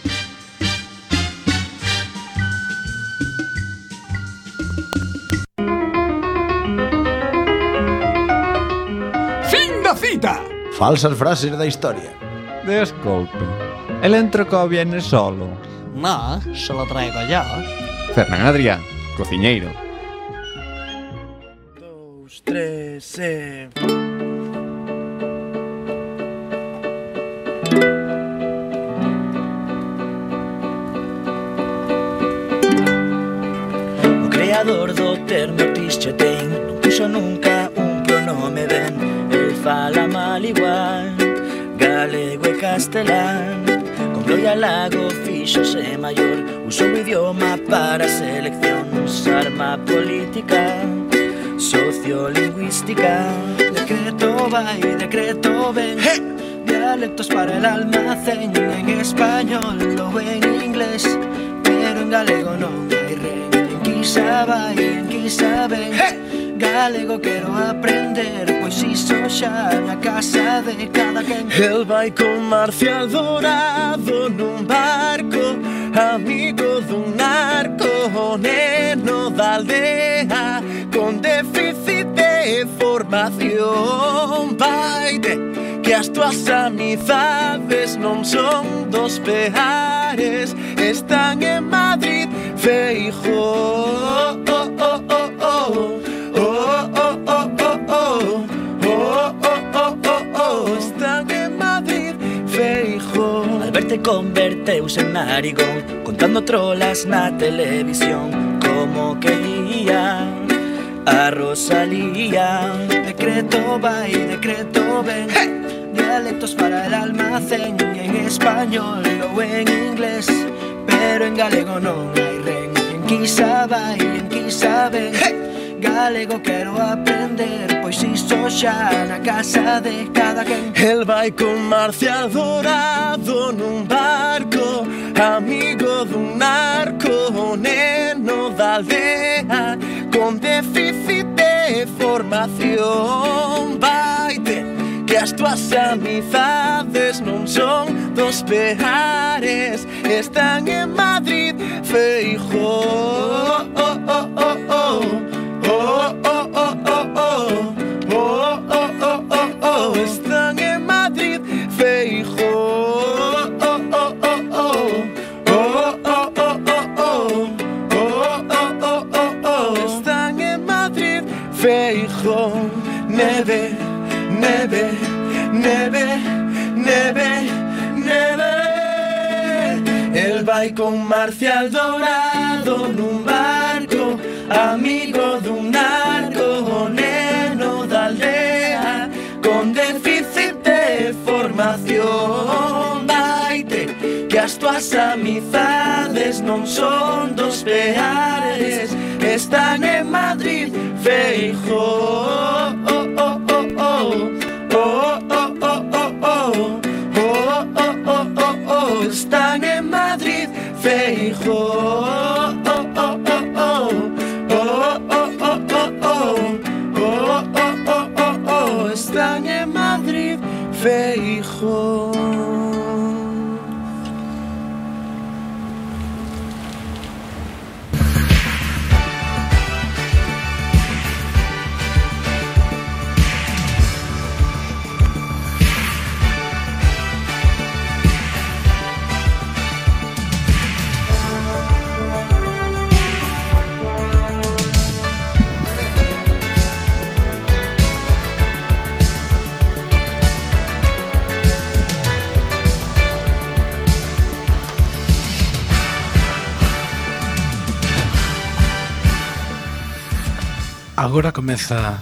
Fin da cita!
Falsas frases da historia
Desculpe. El entrecó viene solo.
No, se lo traigo yo.
Fernán Adrián, cociñeiro.
O creador do termo Pichotein Non puxo nunca un pronome ben El fala mal igual Galego e castelán Con gloria lago fixose maior Usou o idioma para a selección Arma política Sociolingüística Decreto va y decreto ven Dialectos para el almacén En español o en inglés Pero en galego no hay rey En Quisaba y en Quisabe Galego quero aprender pues Pois iso xa na casa de cada quen El vai con Marcial Dorado nun barco Amigo dun narco O neno da aldea Con déficit de formación Vai de que as tuas amizades non son dos peares están en Madrid feijo oh, oh, oh, oh, oh. Oh, oh, oh, oh, oh. Oh, oh, oh, oh, oh. están en Madrid feijo Alberto converteuse en narigón contando trolas na televisión como querían a Rosalía. Decreto va y decreto ven. Dialectos para el almacén en español o en inglés, pero en galego no hay ren. En quizá va y en quizá ven. Galego quero aprender, pois iso xa na casa de cada quen El vai con Marcial Dorado nun barco Amigo dun narco, o neno da aldea Con déficit de formación Vaite que as tuas amizades non son dos peares Están en Madrid, feijo oh, oh, oh, oh, oh. Oh, oh, oh, oh, oh. Oh, oh, oh, oh, oh. Están en Madrid, Feijóo. Oh, oh, oh, oh. Oh, oh, oh, oh, oh. Oh, oh, oh, oh, oh. Están en Madrid, Feijóo. Neve, neve, neve, neve, neve. El vai con Marcial Dorado nun barco Amigo dun narco o neno da aldea Con déficit de formación Vaite que as tuas amizades non son dos peares Están en Madrid, feijo oh, oh, oh, oh, oh. Oh, oh, oh, oh, oh. Oh, oh, oh, oh, oh. Están en Madrid, feijo oh, oh, oh, oh, oh. Oh, oh, oh, oh, oh. Oh, oh, oh, oh, oh. Están en Madrid,
Feijo.
Agora comeza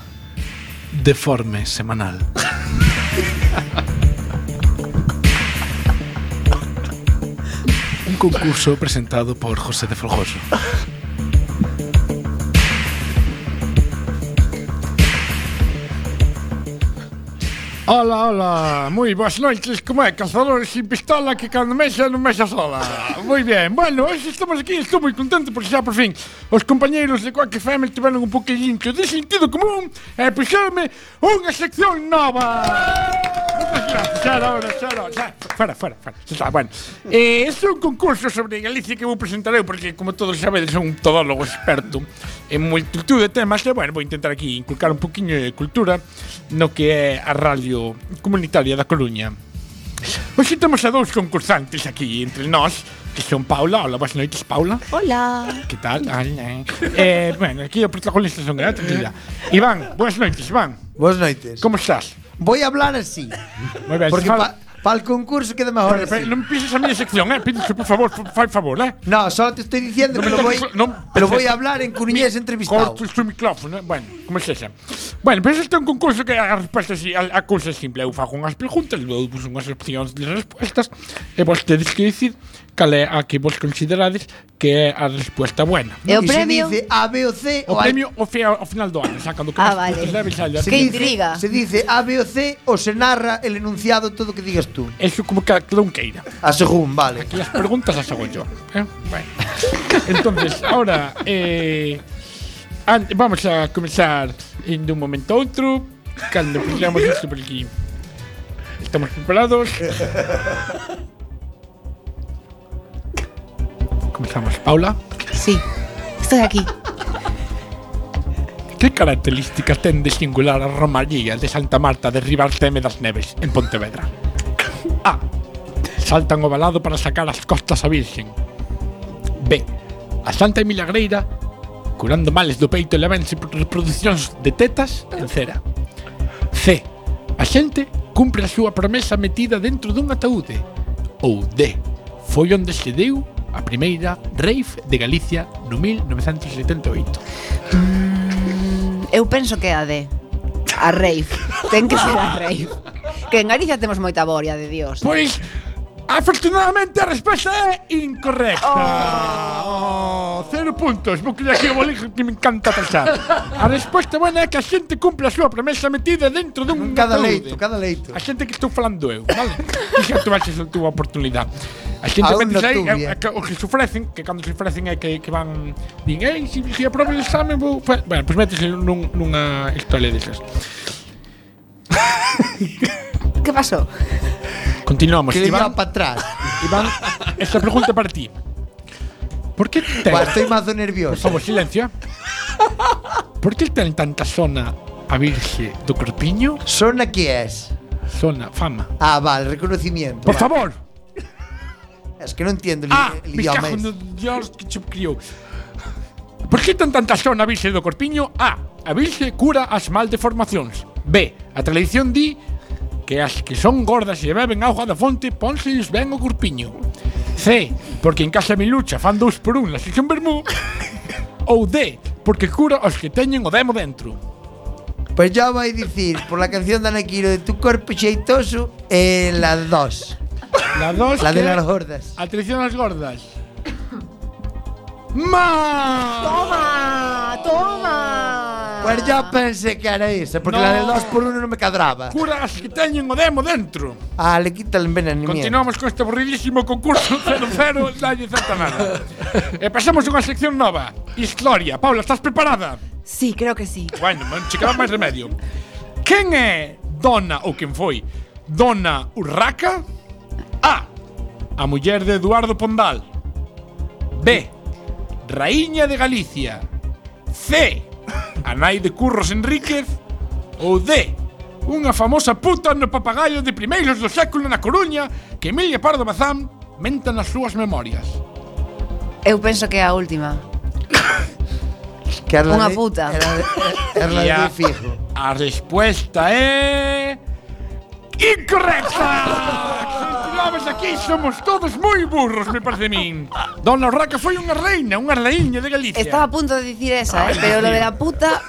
Deforme semanal. Un concurso presentado por José de Folgoso. Hola, hola, muy buenas noches, como é, cazadores sin pistola que cando mexa non mexa sola Moi ben, bueno, hoxe estamos aquí, estou moi contento porque xa por fin Os compañeiros de Quack FM tiveron un poquillincho de sentido común E puxerme unha sección nova Moitas gracias, xa era hora, xa era hora, xa, Fora, fora, fora, xa está, bueno eh, Este é un concurso sobre Galicia que vou presentar eu Porque como todos sabedes son un todólogo experto En multitud de temas E bueno, vou intentar aquí inculcar un poquinho de cultura No que é a radio comunitaria da Coruña Hoxe temos a dous concursantes aquí entre nós Que son Paula, hola, boas noites Paula
Hola.
Que tal? Hola. Eh, bueno, aquí os protagonistas son gratis Iván, boas noites Iván
Boas noites.
Como estás?
Voy a hablar así.
Moi ben,
Porque
fala-
para el concurso queda mejor.
Pero, pero,
así.
non pises a miña sección, eh? Pídese, por favor, fa- fai favor, eh?
No, solo te estoy diciendo que
me
lo voy,
toques- no,
lo voy
perfecto.
a hablar en curuñés entrevistado.
Corto o micrófono, eh? bueno, como é esa? Bueno, pero este é un concurso que a resposta si, a, a cousa é simple Eu fago unhas preguntas, eu pus unhas opcións de respostas E vos tedes que dicir cal é a que vos considerades que é a resposta buena
E
Y
o premio?
Se dice A, B o C.
O
hay-
premio o fe, ao final do ano, xa cando que
Ah,
máis
vale.
puntos leves, xa,
se
Qué
dice-
intriga.
Se dice A, B o C o se narra el enunciado todo que digas tú.
Eso como que cada un queira
A según, vale.
Las preguntas las hago yo. ¿eh? Bueno. Entonces, ahora eh, an- vamos a comenzar en de un momento a otro. Cuando empezamos esto por aquí. ¿Estamos preparados? Comenzamos. Paula,
Sí. Estoy aquí.
¿qué características ten de singular a Romaría de Santa Marta de Ribarteme das Neves en Pontevedra? A. Saltan ovalado para sacar as costas a Virgen. B. A Santa Emilia Greira curando males do peito e levanse reproduccións de tetas en cera. C. A xente cumpre a súa promesa metida dentro dun ataúde. Ou D. Foi onde se deu a primeira rave de Galicia no 1978.
Eu penso que é a de a rave. Ten que ser a rave. Que en Galicia temos moita boria de Dios.
Pois, Pues, afortunadamente, a resposta é incorrecta. Oh. cero puntos, porque aquí o bolígrafo que me encanta pensar. A resposta buena é que a xente cumpre a súa promesa metida dentro dun
Cada
ataúde.
leito, cada leito.
A xente que estou falando eu, vale? E xa tuvaches a túa oportunidade. A xente
A
mete
onda
aí,
tuya.
é, é, eh, que o que se ofrecen, que cando se ofrecen é que, que van, din, ei, se si, si aprobe o exame, vou... fa-". Bueno, pois metes nun, nunha historia desas.
Que pasou?
Continuamos.
Que le
pues, Iván,
llevan para atrás.
Iván, esta pregunta para ti. Por que ten,
Buah, estoy mazo
por
nervioso.
favor, silencio. Por que ten tanta zona a virxe do corpiño?
¿Sona qué es?
Zona, fama.
Ah, vale, reconocimiento.
Por
vale.
favor.
Es que no entiendo el,
Ah,
el
me
idioma.
cago no
este.
Dios que chup criou. Por que ten tanta zona a virxe do corpiño? A. A virxe cura as mal deformacións. B. A tradición di que as que son gordas e beben auga da fonte pónselles ben o corpiño. C. Porque en casa mi lucha fan dous por un na sección vermú. Ou D. Porque cura os que teñen o demo dentro.
Pues yo voy a decir, por la canción de Anaquiro de tu cuerpo cheitoso, eh, las dos.
La dos
La de
que é
las gordas.
A tradición das gordas. ¡Ma!
Toma, toma.
Pues yo pensé que era esa, porque
No.
la del dos por uno no me cadraba.
Cura as que teñen o demo dentro.
Ah, le quita el envenenamiento.
Continuamos con este aburridísimo concurso 0-0 Nadie acerta nada E pasamos a unha sección nova Historia Paula, estás preparada?
Sí, creo que sí.
Bueno, non che queda máis remedio Quen é Dona, ou quen foi Dona Urraca? A. A muller de Eduardo Pondal. B. Raíña de Galicia. C. A nai de Curros Enríquez. Ou D. Unha famosa puta no papagayo de primeiros do século na Coruña que Emilia Pardo Bazán menta nas súas memorias.
Eu penso que é a última.
Que era
Unha
de-
puta.
Era, era la
E a-
de fijo.
A E, resposta é... Incorrecta! Estivamos aquí, somos todos moi burros, me parece a min. Dona Urraca foi unha reina, unha raíña de Galicia.
Estaba a punto de dicir esa, eh, pero lo de la puta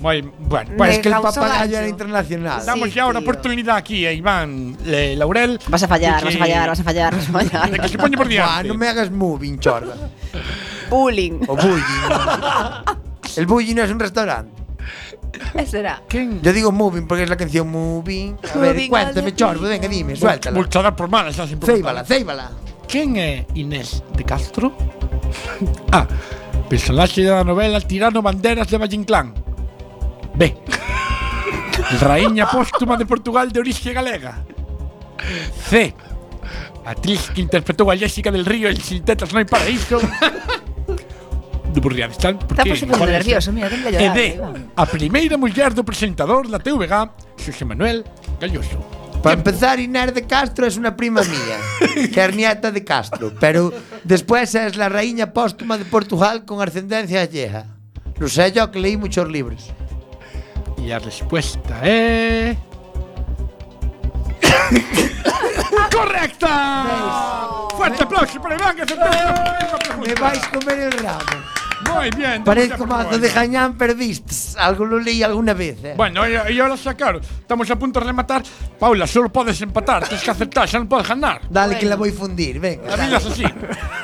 Moi, bueno,
Me
pues
Es que el
causó
papagayo
gancho.
era internacional.
damos
sí,
ya una
tío.
oportunidad aquí a Iván eh, Laurel.
vas a fallar,
de
vas a
que-
fallar, vas a fallar, vas a
de que se
fallar.
pone por
Buah,
diante.
no me hagas moving, chorda.
Bullying.
O bullying. el bullying no es un restaurante.
¿Qué será?
¿Quién?
Yo digo moving porque es la canción moving. A ver,
Moving
cuéntame,
al
chorda,
destino.
venga, dime, suéltala.
Multada por mal, estás
Céibala, céibala.
¿Quién es Inés de Castro? A. Personaje de la novela Tirano Banderas de Valle Inclán. B. Raíña póstuma de Portugal de origen galega. C. Actriz que interpretó a Jessica del Río en Sin Tetas No hay Paraíso. De Burrián, están.
Está por supuesto nervioso, mira, tengo que
E
llorar. ¿eh?
D. A primeira muller do presentador da TVG, Xosé Manuel Galloso.
Para empezar, Inés de Castro es una prima mía, que es nieta de Castro, pero después es la reina póstuma de Portugal con ascendencia gallega. Lo sé yo que leí muchos libros.
E a resposta é... Correcta! Fuerte aplauso para Iván que se
Me vais a comer el rabo.
Muy bien.
Parezco
muchas
mazo de
gracias.
Jañán, pero vistes, algo lo leí alguna vez. eh.
Bueno, y, y ahora sacar. Estamos a punto de rematar. Paula, solo podes empatar. Tens que aceptar, xa non podes ganar.
Dale que la
bueno.
voy a fundir,
A
venga.
vida es así.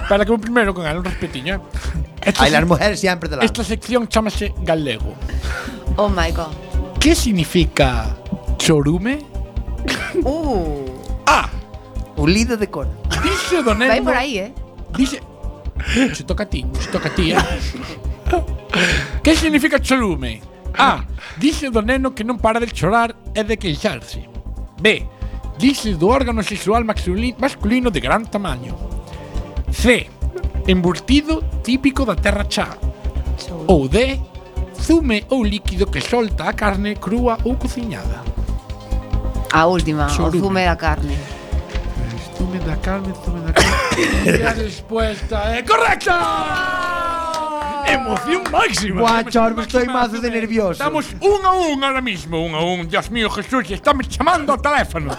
Para que un primero con un respetiño. eh. Esta,
Ay, las
sec-
mujeres siempre te la.
esta sección chámase galego.
Oh my god.
¿Qué significa chorume?
Uh,
Ah,
Un líder de cona.
dice Don
va a ir
Elmo.
por ahí, eh.
Dice. Se toca a ti, se toca a ti. eh. ¿Qué significa chorume? A. Dice Don Eno que non para de chorar e de queixarse. B. Dice do órgano sexual maxuli- masculino de gran tamaño. C. Emburtido típico da terra chá. Ou D. Zume ou líquido que solta a carne crúa ou cociñada.
A última, o
Chorume.
zume da carne.
Zume da carne, zume da carne. La respuesta eh. es correcta. Emoción máxima.
Guau,
Emoción
Chorbo,
máxima,
estoy mazo de
zume.
nervioso.
Estamos uno a uno ahora mismo, uno a uno. Dios mío, Jesús, están llamando al teléfono.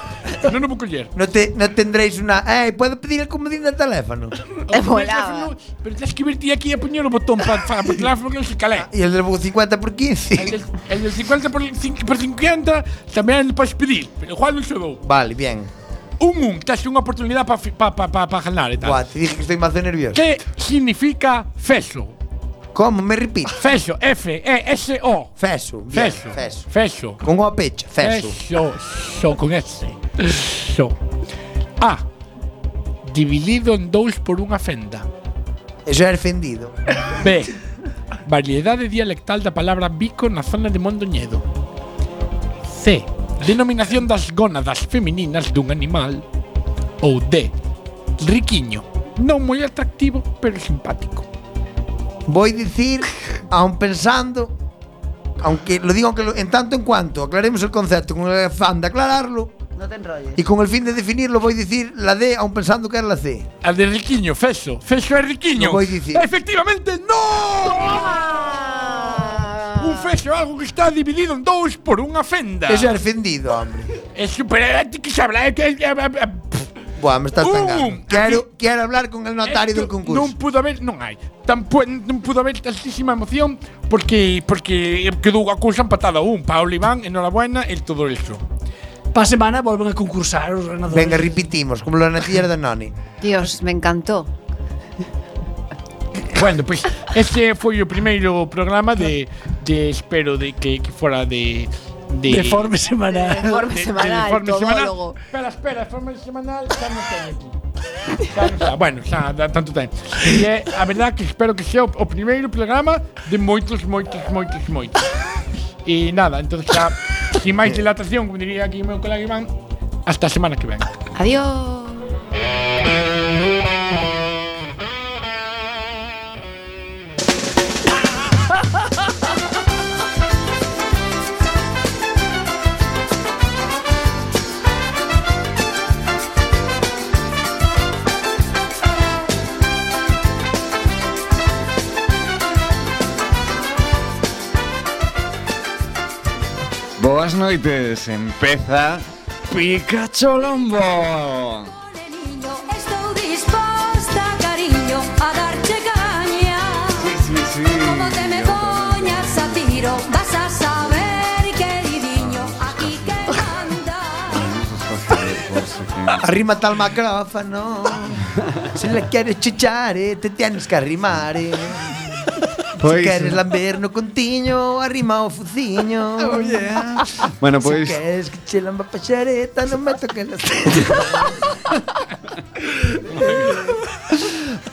No lo puedo leer.
No, te, no tendréis una. ¡Eh! ¿Puedo pedir el comodín del teléfono?
É volaba.
Pero tienes que irte aquí a poner el botón para el teléfono que no se calé.
Y el del 50 por 15.
El del, el del 50 por, cin- por 50 también puedes pedir, pero Juan no se lo
Vale, bien.
Un un, te hace una oportunidad para pa, pa, pa ganar y tal.
Guau, te dije que estoy más de nervioso.
¿Qué significa feso?
¿Cómo? Me repito.
Feso, F-E-S-O.
Feso. bien,
Feso.
Feso.
Feso.
Con o pecho. Feso.
Feso. So, con S. So. A. Dividido en dous por unha fenda.
Eso es ofendido.
B. Variedade dialectal da palabra bico na zona de Mondoñedo. C. Denominación das gónadas femininas dun animal. Ou D. Riquiño. Non moi atractivo, pero simpático.
Voy a decir, aun pensando, aunque lo digo aunque lo- en tanto en cuanto aclaremos el concepto con el afán de aclararlo
No te enrolles.
y con el fin de definirlo, voy a decir la D, aun pensando que era la C.
A de Riquiño, Feso. Feso é Riquiño.
Lo voy a decir.
Efectivamente,
Ah.
no! Un feso é algo que está dividido en dous por unha fenda.
Eso es ofendido, hombre.
É super... que se habla... É que... eh, é- é- é-
Buah, me estás
Uh,
tangando. Quiero, quiero hablar con el notario
Esto
del concurso.
Non pudo haber, non hai. Tampou, non pudo haber tantísima emoción porque porque quedou a cousa empatada a un. Paolo Iván, enhorabuena, el todo eso.
Pa semana volven a concursar os ganadores.
Venga, repetimos, como la natilla de Noni.
Dios, me encantó.
Bueno, pois ese foi o primeiro programa de, de espero de que, que fora de
de forma
De
semanal.
forma semanal, todólogo.
Espera, espera, forma semanal xa non teño aquí. Xa non está. Bueno, xa dá tanto tempo. E é, a verdad que espero que sea o, o primeiro programa de moitos, moitos, moitos, moitos. E nada, entón xa, sin máis dilatación, como diría aquí o meu colega Iván, Hasta a semana que ven.
Adiós.
Boas noites, empeza Pikachu Lombo.
Estou disposta, cariño, a darte caña. Como te me poñas a tiro, vas a saber, queridinho, aquí que
Arrímate al macrófono. Si le quieres chichar, eh, te tienes que arrimar. eh.
Pois-
Si quieres lamber no contiño, arrima o fuciño.
Oh,
Bueno, pues,
Si
pois
quieres que che lamba pa xareta, non me toques las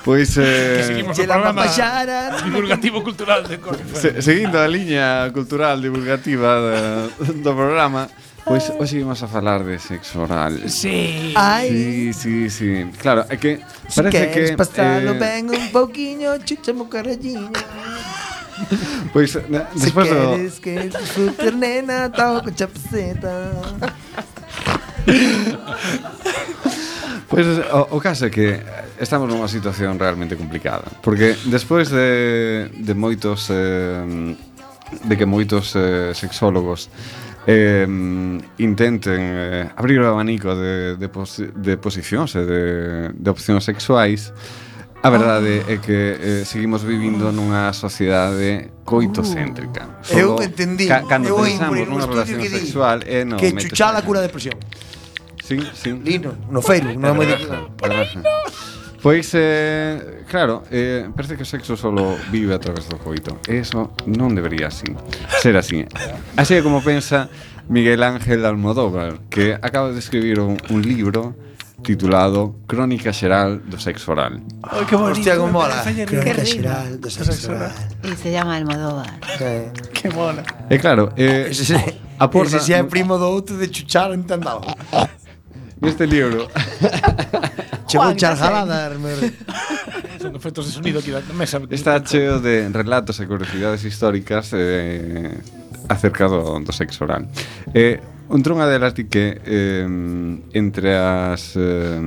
pois eh,
Seguimos
Che
o
lamba pa
programa
xara.
divulgativo cultural de Corfe.
se, seguindo a liña cultural divulgativa da, do programa, pois hoxe imos a falar de sexo oral.
Sí.
Ai.
Sí, sí, sí. Claro, é que
Si
parece
queres
que
pasalo
eh,
ben un pouquiño, chuchame o caralliño.
Pois na-
Si
despois do
queres que disfrutes, nena, tao con chapseta.
Pois o, o caso é que estamos nunha situación realmente complicada Porque despois de, de moitos eh, De que moitos eh, sexólogos eh, Intenten eh, abrir o abanico de, de, pos, de posicións e de, de opcións sexuais
Ah.
A verdade é que eh, seguimos vivindo nunha sociedade coitocéntrica.
Uh. Eu
Solo
entendí.
Ca, cando
Eu
pensamos
entendí un
nunha
estudio
relación
que di
sexual é no
que chuchar a cura a depresión.
Sí, sí.
Lino, no feiro, non é moi difícil.
Relaja. Pois, eh, claro, eh, parece que o sexo solo vive a través do coito. E Eso non debería así, ser así. Así é como pensa Miguel Ángel Almodóvar, que acaba de escribir un, un libro titulado Crónica Xeral do Sexo Oral.
Ay, qué bonito.
Hostia, cómo mola.
Qué
Crónica
rico.
xeral do sexo oral.
Y se llama Almodóvar.
Que-
Qué mola.
E claro, eh,
Ese se-
aporta...
Ese se é primo do outro de chuchar entendado.
Neste libro
Juan,
Chegou char
no sé.
jalada, hermano.
Son efectos de sonido aquí da mesa.
está cheo de relatos e curiosidades históricas eh, acerca do, do sexo oral. Eh, entre unha delas di que eh, entre as eh,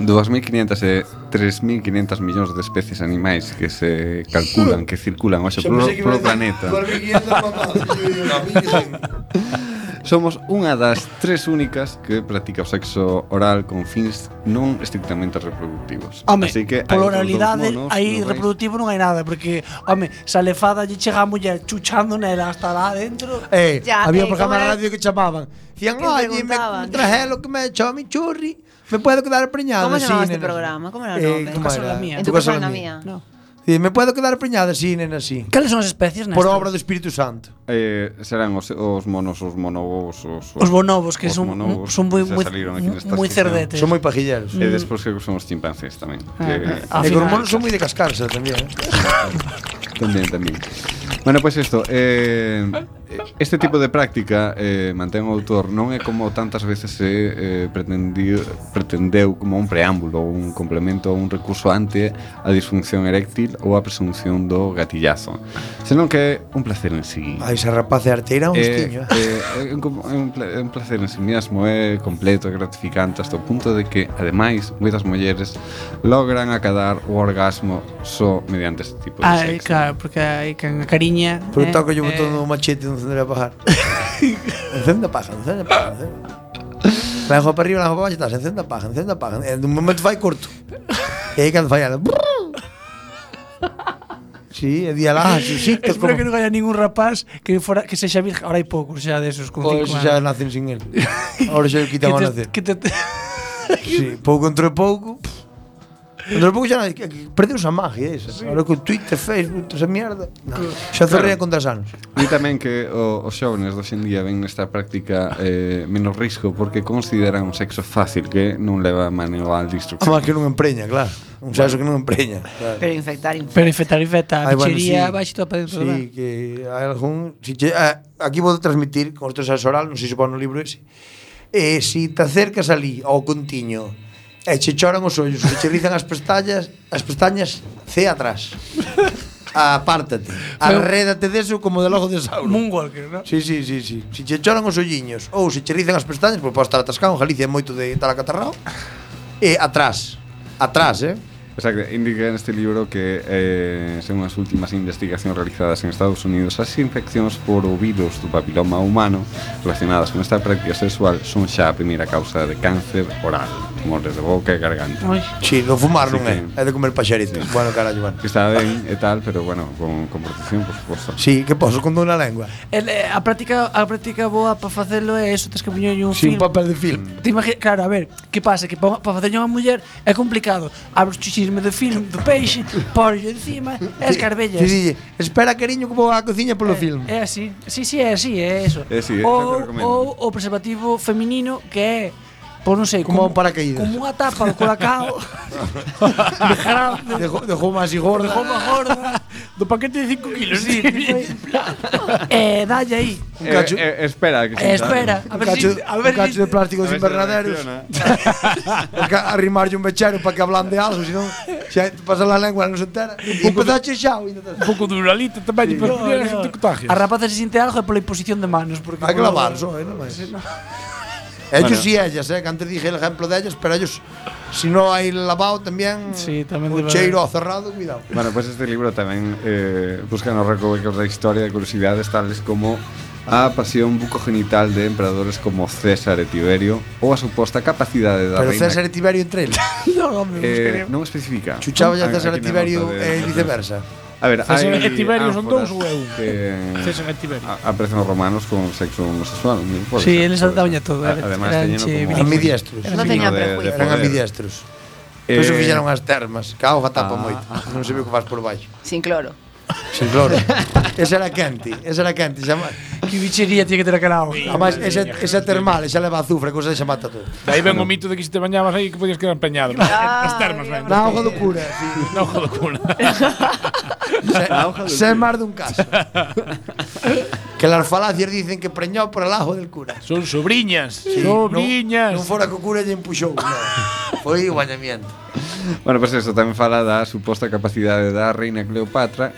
2.500 e 3.500 millóns de especies animais que se calculan que circulan hoxe polo, polo planeta somos unha das tres únicas que pratica o sexo oral con fins non estrictamente reproductivos.
Home,
Así que
por
hai outros
oralidade,
monos,
aí
non vais-
reproductivo non hai nada, porque, home, se a lefada lle chega a muller chuchando nela hasta lá dentro...
Eh,
Ya,
había
eh,
un programa
¿cómo
de
era?
radio que chamaban. Decían,
Que
oye, me
preguntaban".
traje lo que me echó mi churri. ¿Me puedo quedar preñada?
¿Cómo
Sí,
se llamaba este
nena, sí.
programa? ¿Cómo era el
Eh,
nombre?
¿cómo
Tu casa o
era?
la mía.
En tu casa o la mía.
No.
Sí, ¿Me puedo quedar preñada? Sí, nena, sí.
Cales son as especies, Néstor?
Por obra do Espírito Santo.
Eh, serán os, os monos, os monobos, os,
Os bonobos, que
os
son,
bonobos,
son moi,
xa
moi,
saliron aquí nesta
moi
sección.
cerdetes. Mm.
Son moi pajilleros.
E despois creo que son os chimpancés tamén.
Ah,
E
que,
Al
con
final.
monos son moi de cascarse tamén, eh.
tamén, tamén. Bueno, pois pues isto, eh, este tipo de práctica eh, mantén o autor non é como tantas veces se eh, pretendiu, pretendeu como un preámbulo, un complemento ou un recurso ante a disfunción eréctil ou a presunción do gatillazo, senón que é un placer en sí.
Ai, esa rapaz de arteira, un eh. hostiño.
É, Eh, é, é, un, com- é un, pla- é un placer en sí mesmo, é completo, é gratificante hasta o punto de que, ademais, moitas mulleres logran acadar o orgasmo só mediante este tipo de
Ai,
sexo.
claro, Ah, porque aí can a cariña...
Por un
eh,
toque yo
eh,
botón un machete no encendería a pajar. encenda paja, encenda paja. encenda. La dejo para arriba, la dejo para abajo, estás, encenda paja, encenda paja. En un momento vai corto. E aí cando fai ela. Sí, e di alá, sí, sí, te
Espero
como.
que non haya ningún rapaz que fora que sexa virgen. Ahora hai poucos xa desos con
Pois eso
cinco anos.
xa nacen sin él. Ahora xa o
que
quitamos a nacer.
te, que te,
Sí, pouco entre pouco. Entre pouco xa nace- perdeus a magia esa. Ahora con Twitter, Facebook, toda esa mierda. Xa zorrea contra sanos.
E tamén que o, os xóvenes doxe en día ven nesta práctica eh, menos risco porque consideran un sexo fácil que non leva manual
A
de
máis
instrucción.
que non empreña, claro. Un sexo que non empreña. Claro.
Pero infectar, infectar.
Pero infectar, infecta, a
Ai, bueno,
bichería,
sí.
vai xito para dentro.
Sí, eh, que hai algún... Si che, ah, aquí vou transmitir, con estes as oral, non sei se pon no libro ese, E se te acercas ali ao contiño e che choran os ollos, e che rizan as pestañas, as pestañas cé atrás. Apártate. Arrédate deso como del ojo de Sauron.
Moonwalker, ¿no?
Sí, sí, sí, sí. Se che choran os olliños ou se che rizan as pestañas, pois pode estar atascado, en Galicia é moito de estar acatarrao. E atrás. Atrás, eh?
Exacto, indica en este libro que, eh, según as últimas investigacións realizadas en Estados Unidos, as infeccións por o virus do papiloma humano relacionadas con esta práctica sexual son xa a primeira causa de cáncer oral, tumores de boca e garganta.
Ai.
Sí, non fumar
Así
non é.
que-
É de comer paxaritos. Bueno, carallo, bueno.
Que está ben e tal, pero bueno, con, con protección, por suposto.
Sí, que poso con unha lengua.
El, eh, a práctica a práctica boa para facelo é eso, tes que poñerlle un
Sí,
film.
un papel de film.
Te imagi- claro, a ver, que pasa? Que para facerlle unha muller é complicado. Abres o chichisme do film do peixe, porlle encima, e as carbellas.
Sí, sí, sí. Espera, cariño, que vou á cociña polo film.
É así. Sí, sí, é así, é eso.
É así, é, sempre
ou,
recomendo.
ou o preservativo feminino que é Pois non sei,
Como un
como,
paracaídas.
Como unha tapa do colacao. Dejara,
Dejó, dejó más y gorda.
dejou má gorda.
Do paquete de 5 kilos.
Sí, tipo aí. eh, dalle aí.
Un cacho,
Eh, eh, espera, que se
Eh, espera, a
un
ver
cacho,
si, a
un
ver
cacho
si-
de plástico de invernaderos.
¿eh?
Hay que Arrimarlle un mechero para que hablan de algo, si non, xa te pasa la lengua, non se entera. Y empezó a chexar.
Un pouco de uralita tamén,
Sí.
para
No,
poñer as
no.
intercutagias.
A rapaza se sinte algo é pola imposición de manos, porque
Hay que
polo-
lavar, só, eh, non máis. Ellos y ellas, eh, que antes dije el ejemplo de ellas, pero ellos, si no hay lavado también,
Sí, tamén
un
debe-
cheiro ao cerrado, cuidado.
Bueno, pues este libro tamén eh, busca nos recovecos da historia e curiosidades tales como a pasión bucogenital de emperadores como César e Tiberio ou a suposta capacidade da
Pero
reina
César e Tiberio entre eles.
No, hombre,
eh, non especifica. Ah,
Chuchaba ya
Aquí
César e
na nota
Tiberio e
de-
viceversa.
A ver,
César
hai
e Tiberio son
ánforas
dous ou é un?
Que
César e Tiberio.
a- aprecian os romanos con sexo homosexual. non pode
Sí,
ser,
eles
pode ser.
dabanlle todo,
A-
eh,
Además,
eran
teñeno
che-
como...
Ambidiestros.
Era
signo
No teñían
de- de
prejuicios.
Eran
poder.
ambidiestros. Eh, Por iso
Eh,
fixeron as termas, que a hoja tapa
Ah.
moito. Non se ve o que faz por baixo.
Sin cloro.
Sin cloro. esa era quente, esa era quente. Xa,
que bichería tiene que ter aquela auga.
además, esa, esa termal, esa leva azufre, cousa xa mata todo.
Daí ven o mito de que se te bañabas aí que podías quedar empeñado. ¿no?
Ah,
As termas,
mira,
ben.
Na hoja do cura, sí.
Na hoja do cuna.
Se, se máis dun caso. que las falacias dicen que preñou por el ajo del cura.
Son sobriñas.
Sí,
sobriñas.
Non, non fora que o cura lle empuxou, no. Foi o bañamiento.
Bueno, pois pues eso tamén fala da suposta capacidade da reina Cleopatra